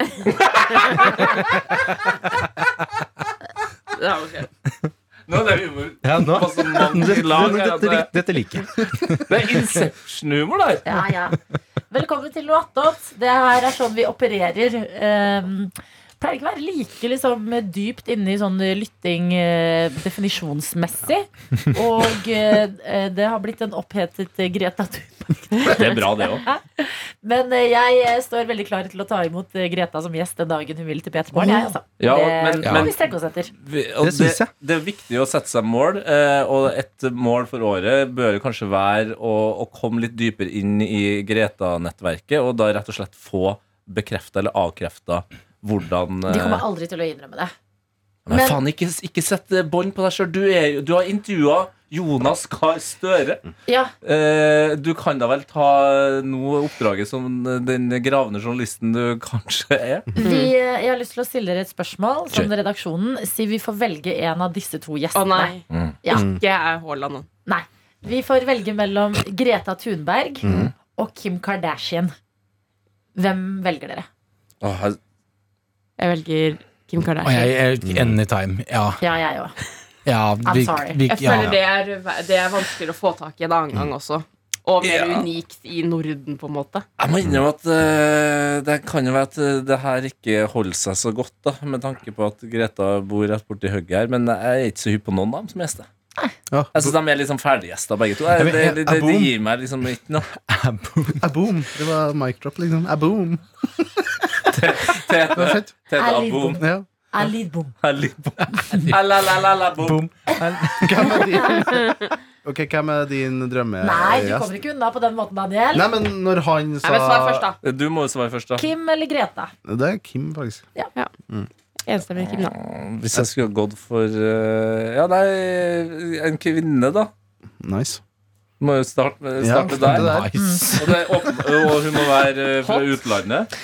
Det har hun skrevet. Nå er det humor. Ja, nå. På så mange lag her Dette, at det- lik- dette liker jeg. Det er Inception-humor der. Ja, ja. Velkommen til noe attåt. Det her er sånn vi opererer. Ehm, pleier ikke å være like liksom, dypt inne i sånn lytting eh, definisjonsmessig. Og eh, det har blitt en opphetet eh, Greta Thunberg. Det er bra, det òg. Men eh, jeg eh, står veldig klar til å ta imot eh, Greta som gjest den dagen hun vil til Peter Morgen. Jeg, altså. Ja, det men- må men- vi strekke oss etter. Vi- og Det syns jeg. Det, det er viktig å sette seg mål, eh, og et mål for året bør kanskje være å, å komme litt dypere inn i Greta-nettverket, og da rett og slett få bekrefta eller avkrefta hvordan eh, De kommer aldri til å innrømme det. Men, men- faen, ikke, ikke sett eh, bånd på deg sjøl. Du, er jo- du har intervjua Jonas Gahr Støre. Ja, Eh, du kan da vel ta nå oppdraget som den gravende journalisten du kanskje er? vi, eh, jeg har lyst til å stille dere et spørsmål som Kjør. redaksjonen. Si vi får velge en av disse to Å gjestene. nei. Mm. Ja. Ikke er Haaland nå. Nei. Vi får velge mellom Greta Thunberg og Kim Kardashian. Hvem velger dere? Åh, jeg- Jeg velger Kim Og Kardashian. jeg er anytime. Ja. Ja, jeg òg. ja vi, sorry. vi, Jeg ja. Mm. føler det er, det er vanskeligere å få tak i en annen gang også. Og mer Ja. unikt i Norden, på en måte. Jeg må innrømme at eh, det kan jo være at eh, det her ikke holder seg så godt, da, med tanke på at Greta bor rett borti hugget her, men jeg er ikke så hypp på noen av dem som gjester. Ja. Jeg synes de er liksom ferdiggjester, begge to. Jeg, men det, jeg- det, jeg det, bor- gir meg liksom ikke noe. Aboom. Det var mic drop, liksom. Aboom. Det var Tete, fett. tete Erlig Abom. Ja. Alidbom. Alalalabom. Boom. Hvem er din, ok, hvem er din drømme Nei, du kommer ikke unna på den måten, Daniel. Eh, Nei, men når han sa Nei, men svar først, da. Du må jo svare først, da. Kim eller Greta? Det er Kim, faktisk. Enstemmig Kim, da. Hvis jeg skulle gått for eh, Ja, nei, en kvinne, da. Nice. Må jo starte, Ja, starte det der. der. Nice. Og, det, er åpen- og hun må være eh, fra Hot. utlandet.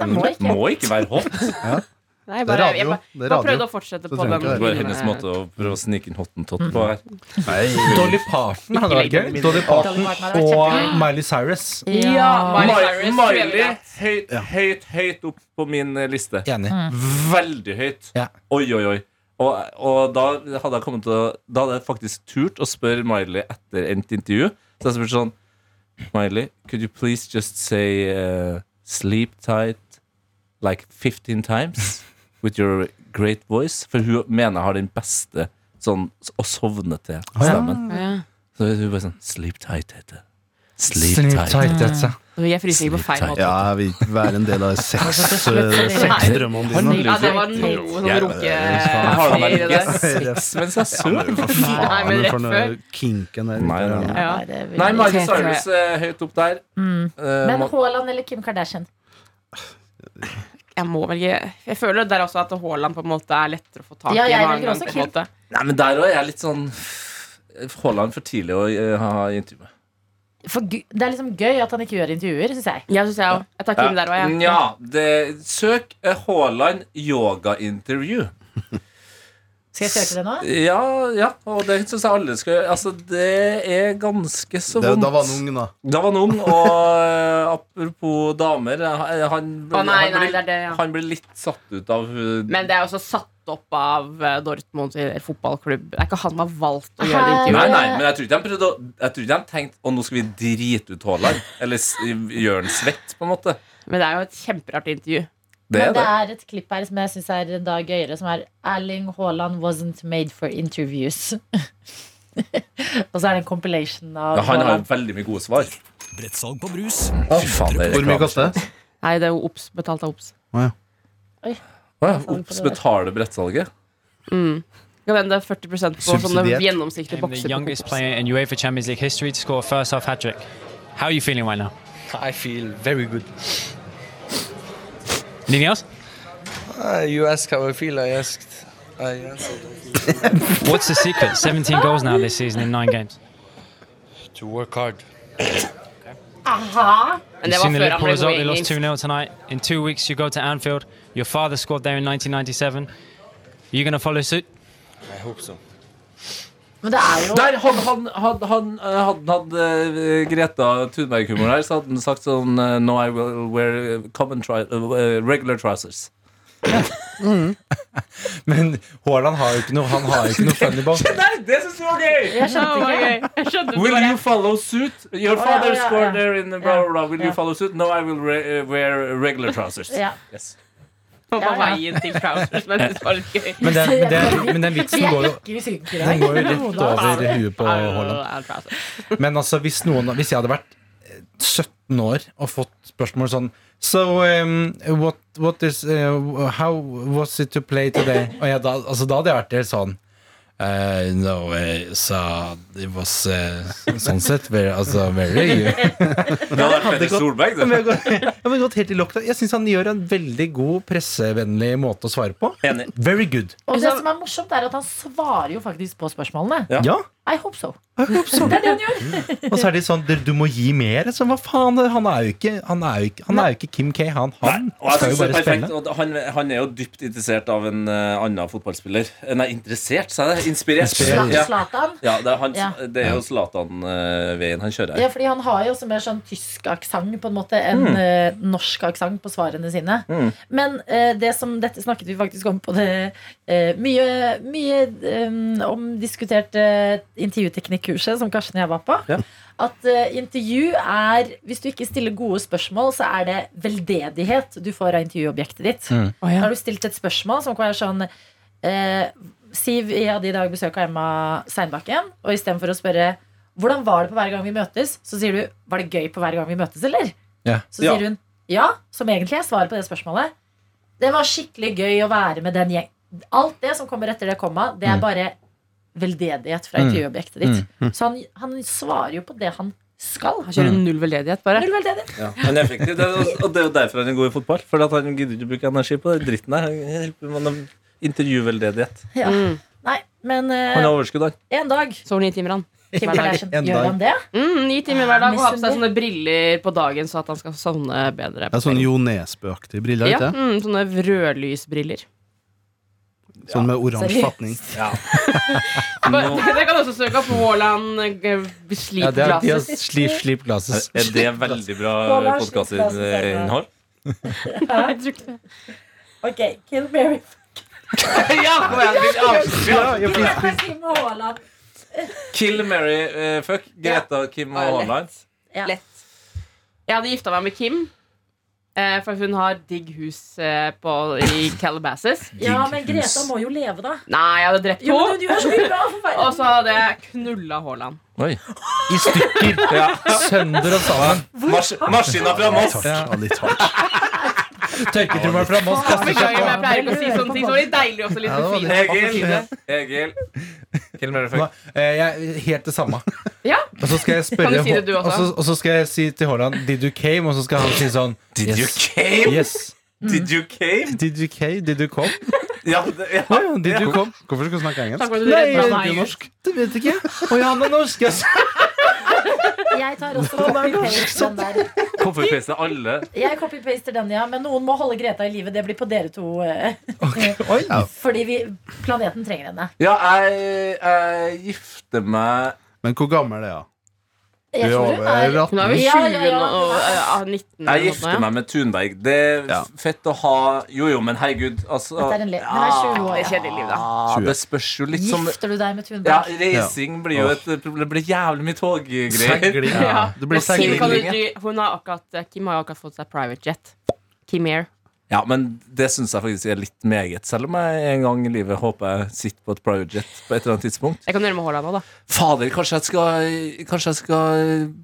Jeg må ikke. Må ikke være hot. Nei, Det er bare, jeg radio. bare, Det er bare prøvde radio. å fortsette Så på trenger den. ikke Det var hennes måte å prøve å snike inn hottentott på her. Dolly Parton hadde vært gøy. Dolly Dolly Parton Parton hadde vært og kjempegøy. Miley Cyrus. Ja, Ja. Miley Miley, Cyrus. Miley Miley. høyt, høyt, høyt opp på min eh, liste. Enig. Veldig høyt. Ja. Oi, oi, oi. Og, og da hadde jeg kommet til å Da hadde jeg faktisk turt å spørre Miley etter endt intervju. Så jeg spurte sånn Miley, could you please just say eh, sleep tight like 15 times with your great voice? For hun mener jeg har den beste sånn å sovne til stemmen. Ja. Så hun bare sånn Sleep tight, heter det. Sleep, Sleep tight. tight, altså. Jeg fryser ikke på feil måte. Ja, jeg vil ikke være en del av sex, slutt- sexdrømmene dine. Ja, det var noe sånn Jeg- runke... Jeg Jeg har da vel det ikke der. sex mens jeg sover? Nei, men Faen, rett for før. noe kinken der. Nei, Ja. nei, Nei, det vil Nei, jeg Miley ikke. Cyrus er høyt opp der. Mm. Eh, Men må- Haaland eller Kim Kardashian? Jeg må velge Jeg føler der også at Haaland på en måte er lettere å få tak i. Ja, jeg en annen velger gang, også på en Kim. måte. Nei, men der òg er jeg litt sånn Haaland for tidlig å eh, ha intervju med. For gu- det er liksom gøy at han ikke gjør intervjuer, syns jeg. Jeg synes jeg òg. Jeg tar Kim der òg, jeg. Nja, det- søk eh, Haaland yogaintervju. Skal jeg søke det nå? Ja, ja, og det syns jeg alle skal gjøre. Altså, det er ganske så Det, vondt. da var han ung, da. Da var han ung, og eh, apropos damer eh, Han, Å, nei, han, nei, det blir, er det, ja. han blir litt satt ut av eh, Men det er også satt opp av eh, Dortmund til en fotballklubb. Det er ikke han som har valgt å gjøre Her- intervjuet. Nei, nei, men jeg tror ikke de prøvde å Jeg tror ikke de tenkte Å, nå skal vi drite ut Haaland. Eller s- gjøre han svett, på en måte. Men det er jo et kjemperart intervju. Det Men er det det. er et klipp her som jeg syns er en dag gøyere, som er Erling Haaland wasn't made for interviews. Og så er det en compilation av Ja, han har jo Haaland. veldig mye gode svar. Brettsalg på brus. Fy faen, det Hvor er mye reklame. koster det? Nei, det er jo OBS. Betalt av OBS. Å ja, Ops betaler brettsalget. Kan hende det er 40 på sånne Subsidiert. gjennomsiktige bokser. på Obs. in UEFA Champions League history to score a first half hat trick. How are you feeling right now? I feel very good. Anything else? you asked how I feel, I asked. What's the secret? 17 goals now this season in nine games. To work hard. Aha. You've seen the Liverpool result. They lost 2 0 tonight. In two weeks, you go to Anfield. Your father scored there in 1997. Are you going to follow suit? I hope so. Men det er jo Der hadde han Hadde han eh, hadde, hadde eh, Greta Thunberg-humor her, så hadde han sagt sånn eh, No, I will wear common tri eh, regular trousers. Men Haaland har jo ikke noe Han har jo ikke noe funny ball. Nei, det syns jeg var gøy! Jeg skjønte ikke. Jeg skjønte Will det bare. you follow suit? Your ja, father ja, ja. scored there in blah, blah, blah. Will Ja. you follow suit? No, I will re eh, wear regular trousers. Ja. Yes. på Ja, ja. veien til trousers, men det var litt gøy. Men den, men den, men den vitsen Vi er går jo ikke synkere. Den går jo rett over huet på Haaland. Ja, trousers. Men altså, hvis, noen, hvis jeg hadde vært eh, 17 år og fått spørsmål sånn So, um, what, what is uh, How was it to play today? Og jeg, da, altså, da hadde jeg vært helt sånn eh, no, eh, so it was eh, sånn sett very, altså, very Det hadde vært Petter Solberg, Ja, det. men jeg har gått- ja, men jeg har gått helt i lockdown. Jeg syns han gjør en veldig god pressevennlig måte å svare på. Enig. Very good. Og det som er morsomt, er at han svarer jo faktisk på spørsmålene. Ja. Ja, I hope so. jeg håper så. Det er det han gjør. Og så er de sånn "Dere, Du må gi mer. Så hva faen? Han er jo ikke, han er jo ikke, han er jo ikke Kim K. Han, han Og jeg skal synes jo det er bare perfekt, spille. og han, han er jo dypt interessert av en eh, annen fotballspiller. Eh, Nei, interessert, sa jeg det. Inspirert. Inspirert. Ja. Zlatan. Ja, det er, han, Ja. det er jo Zlatan-veien han Ja, kjører her. Mm. fordi han har jo også mer sånn tysk aksent på en måte enn eh, norsk aksent på svarene sine. Men eh, det som dette snakket vi faktisk om på det eh, mye, mye eh, omdiskuterte intervjuteknikkurset som Karsten og jeg var på. Ja. At eh, intervju er Hvis du ikke stiller gode spørsmål, så er det veldedighet du får av intervjuobjektet ditt. Mm. Har du stilt et spørsmål som kan være sånn eh, Siv jeg hadde i dag besøk av Emma Seinbakken, og istedenfor å spørre hvordan var det på hver gang vi møtes, så sier du var det gøy på hver gang vi møtes, eller? Ja. Så sier Ja. hun ja, som egentlig er svaret på det spørsmålet. Det var skikkelig gøy å være med den gjeng. Alt det som kommer etter det komma, det er bare veldedighet fra intervjuobjektet ditt. Så han, han svarer jo på det han skal. Han kjører null veldedighet, bare. Null veldedighet. Ja. Han er effektiv, det er, og det er jo derfor han er god i fotball. For at han gidder ikke å bruke energi på den dritten her. Han hjelper med noe Intervjuveldedighet. Ja. Nei, men eh, Han har overskudd, han. en dag Sover ni timer, han. Kim Hver dag. Kardashian, En gjør dag. han det? Mm, ni timer hver dag. Og ha på seg Misunnelig. sånne briller på dagen, så at han skal sovne bedre. Det er sånn Jo Nesbø-aktige briller, ja, ikke det? mm, sånne rødlysbriller. Sånn med oransje Seriøst? fatning. Bare- Dere kan også søke opp Haaland eh, Ja, sleep det er, de har glasses. sleep, sleep glasses. Er det veldig bra eh, Hva var podkastinnhold? Jeg tror ikke det. Ok, Kill Mary. Ja, kom igjen, vi avslutter. Kim Haaland. Kill Mary eh, Fuck. Greta, Kim og Haaland. Ja. Lett. Jeg hadde gifta meg med Kim. eh, For hun har digg hus eh, på, i Calabasas. ja, men Greta må jo leve, da. Nei, jeg hadde drept Jo, men henne. hun gjør så mye bra for verden. Og så hadde jeg knulla Haaland. Oi. I stykker. Ja. Sønder og sammen. Mars Maskina fra Moss. Takk, ja, litt hardt. Tørketrommel fra Moss kaster seg Beklager, men jeg på. pleier ikke å si sånne ting. Så var det deilig også, litt Ja, det var fin. Egil. Egil. Kill Mary Fuck. Hva- eh, Jeg er helt det samme. Ja. Og så skal jeg spørre Kan du si det du Hå- og også? så- og så skal jeg si til Haaland Did you came? Og så skal han si sånn Did you Yes. came? yes. Did you came? Did you came? Did you come? Mm. Ja, det, ja. Å ja, did you come? Hvorfor skal du snakke engelsk? Takk for at du Nei, redda det er meg. norsk. Det vet ikke jeg. Å ja, han er norsk. Jeg sa- Jeg tar også copy-paste den der. Copy-paste alle. Jeg copy-paster den, ja. Men noen må holde Greta i live. Det blir på dere to. eh, Oi. Fordi vi, planeten trenger henne. Ja, jeg, jeg gifter meg Men hvor gammel er hun? Jeg tror hun er Nå er vi Ja, 20 ja, ja. nå, og eh, 19 Jeg eller noe gifter sånt. meg med Thunberg. Det er Ja. fett å ha Jo, jo, men herregud. Altså, Dette er en le- men det er 20 år, Ja, ja. Kjedelig liv, da. Ah, det spørs jo litt som Gifter du deg med ja, Thunberg? Reising blir jo et problem. Det blir jævlig mye toggreier. Segling. Ja. Det blir Og Kim, kan du, seiling. dri- hun har akkurat, eh, Kim har jo akkurat fått seg private jet. Kim Air. Ja, men det syns jeg faktisk er litt meget. Selv om jeg en gang i livet håper jeg sitter på et private jet på et eller annet tidspunkt. Jeg kan gjøre med Haaland òg, da. Fader, kanskje jeg skal Kanskje jeg skal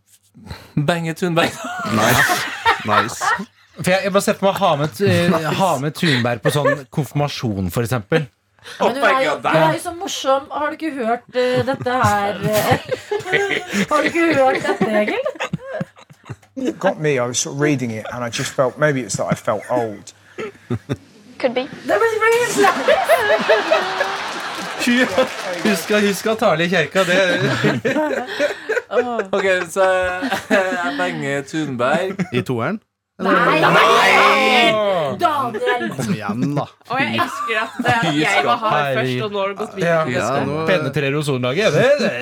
bange Thunberg. Nice. nice. For jeg, jeg bare ser for meg å ha med, eh, ha med Thunberg på sånn konfirmasjon, for eksempel. Men hun my er, jo, God, hun er jo så morsom. Har du ikke hørt eh, dette her? eh? har du ikke hørt dette, Egil? It got me. I was sort of reading it, and I just felt maybe it's that I felt old. Could be. Husk, husk å tale i kjerka. Det Ok, så er Benge Thunberg I toeren? Nei! Daniel! Daniel! Kom igjen, da. Og jeg elsker at det er at jeg var hard først, og nå har det gått videre. ja. Ja, nå- Penetrerer ozonlaget. Det, det.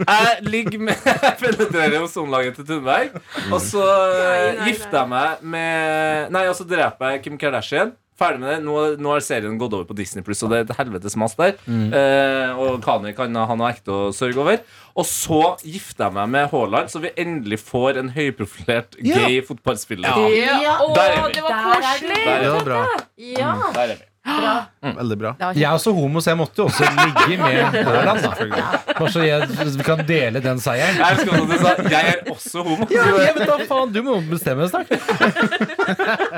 Jeg ligger med Jeg penetrerer ozonlaget til Thunberg. Og så eh, nei, nei. gifter jeg meg med Nei, og så dreper jeg Kim Kardashian. Ferdig med det. Nå, nå har serien gått over på Disney Pluss, og det er et helvetes mas der. Mm. Eh, og Kani kan ha noe ekte å sørge over. Og så gifter jeg meg med Haaland, så vi endelig får en høyprofilert gay fotballspiller. Ja. Å, Der er vi. det var Der er du. koselig! Det Der er var bra. vi. Der er vi. Veldig bra. Det var Jeg er også homo, så jeg måtte jo også ligge med Haaland. da. Bare så jeg vi kan dele den seieren. Jeg elsker at du sa jeg er også homo. Ja, jeg vet da faen, Du må bestemme snart. kjempe-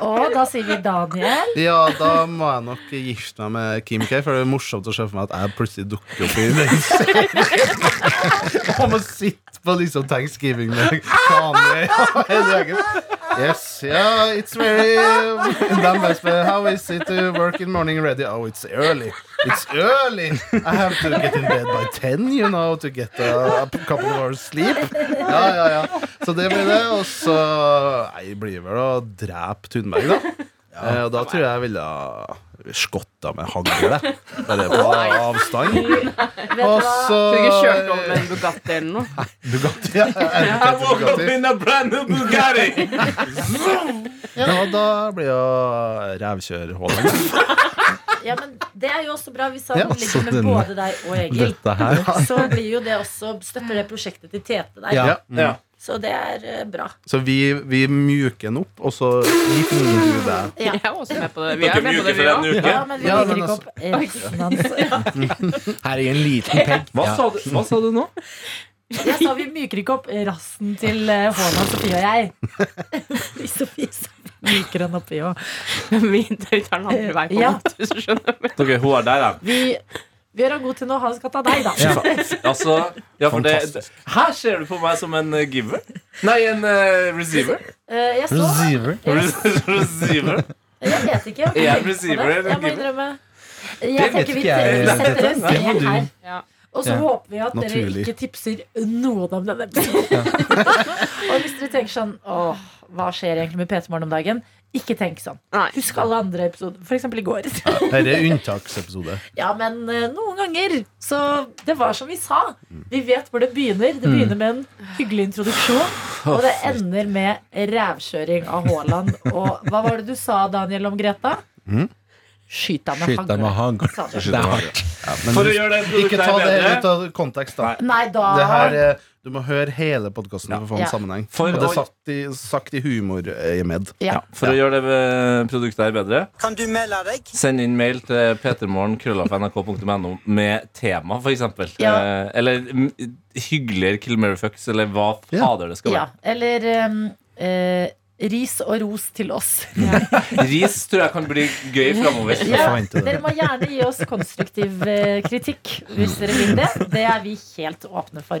Og da sier vi Daniel. Ja, da må jeg nok gifte meg med Kim K, for det er morsomt å se for meg at jeg plutselig dukker opp i den serien. Og må sitte på liksom Thanksgiving med Kanye og en egen Yes, yeah, it's very um, And then I say, How is it to work in morning ready? Oh, it's early. It's early. I have to get in bed by ten, you know, to get a, a couple of hours sleep. Ja, ja, ja. Så det blir det. Og så Nei, det blir vel å drepe Thunberg, da. Eh, og da tror jeg jeg ville ha skotta med hagle. Bare på avstand. Vet du Og hva? så eh, Skulle ikke kjørt over med en Bugatti eller noe. Bugatti. Ja, I woke up Bugatti. in a brand new Bugatti. Ja, og da blir jo rævkjør Haaland. Ja, men det er jo også bra hvis Ja, han så ligger med denne- både deg og Egil. Dette her. Så blir jo det også støtter det prosjektet til Tete der. Ja. Ja. Så det er eh, bra. Mm. Så vi, vi mjuker den opp, og så gifter du deg. Ja. Jeg var også med på det. Vi Dere er med på mjuker det, vi for en òg. uke. Ja, men vi Ja, legger men ikke altså- opp resten hans. Her er en liten pegg. Hva, Ja. sa du, hva sa du nå? Jeg sa vi myker ikke opp rassen til eh, Haaland, Sofie og jeg. Vi Sofie så myker han oppi òg. Vi tar den andre veien, på en Ja. måte, hvis du skjønner. Dere, hun er der, ja. Vi, vi gjør han god til noe, han skal ta deg, da. Ja. Altså, ja, for det, Fantastisk. her ser du på meg som en eh, giver. Nei, en eh, receiver. Eh, Jeg så Receiver. jeg, receiver. jeg vet ikke. Jeg, har ikke Er tenkt på jeg receiver det. eller Jeg må giver? innrømme. Jeg vet tenker vi ikke jeg, vi setter en Tete. Det må seier du- her. Ja. Og så Ja. håper vi at dere Naturlig. ikke tipser noen om denne episoden. og hvis dere tenker sånn Åh, hva skjer egentlig med PT-morgen om dagen? Ikke tenk sånn. Nei. Husk alle andre episoder. For eksempel i går. Dette er unntaksepisode. ja, men eh, noen ganger. Så det var som vi sa. Vi vet hvor det begynner. Det begynner med en hyggelig introduksjon. Og det ender med rævkjøring av Haaland. Og hva var det du sa, Daniel, om Greta? Skyt deg med Mm? Skyt deg med hagl. sa hagl. du. Det er hardt. Ja, men For å du- gjøre det produktet ikke ta her det bedre. ut av kontekst, da. Nei, da Det her, eh, du må høre hele podkasten for å få en Ja. sammenheng. For og det å- er satt i, sagt i eh, humorøyemed. ja. For å gjøre det eh, produktet her bedre, Kan du melde deg? send inn mail til petermorgen.nrk.no med tema, for eksempel. Ja. Eh, eller mm, hyggeligere Kill Mary Fucks, eller hva Ja. fader det skal Ja, være. eller ehm, eh, ris og ros til oss. Ris tror jeg kan bli gøy framover. Jeg forventer det. dere må gjerne gi oss konstruktiv eh, kritikk hvis dere vil det. Det er vi helt åpne for.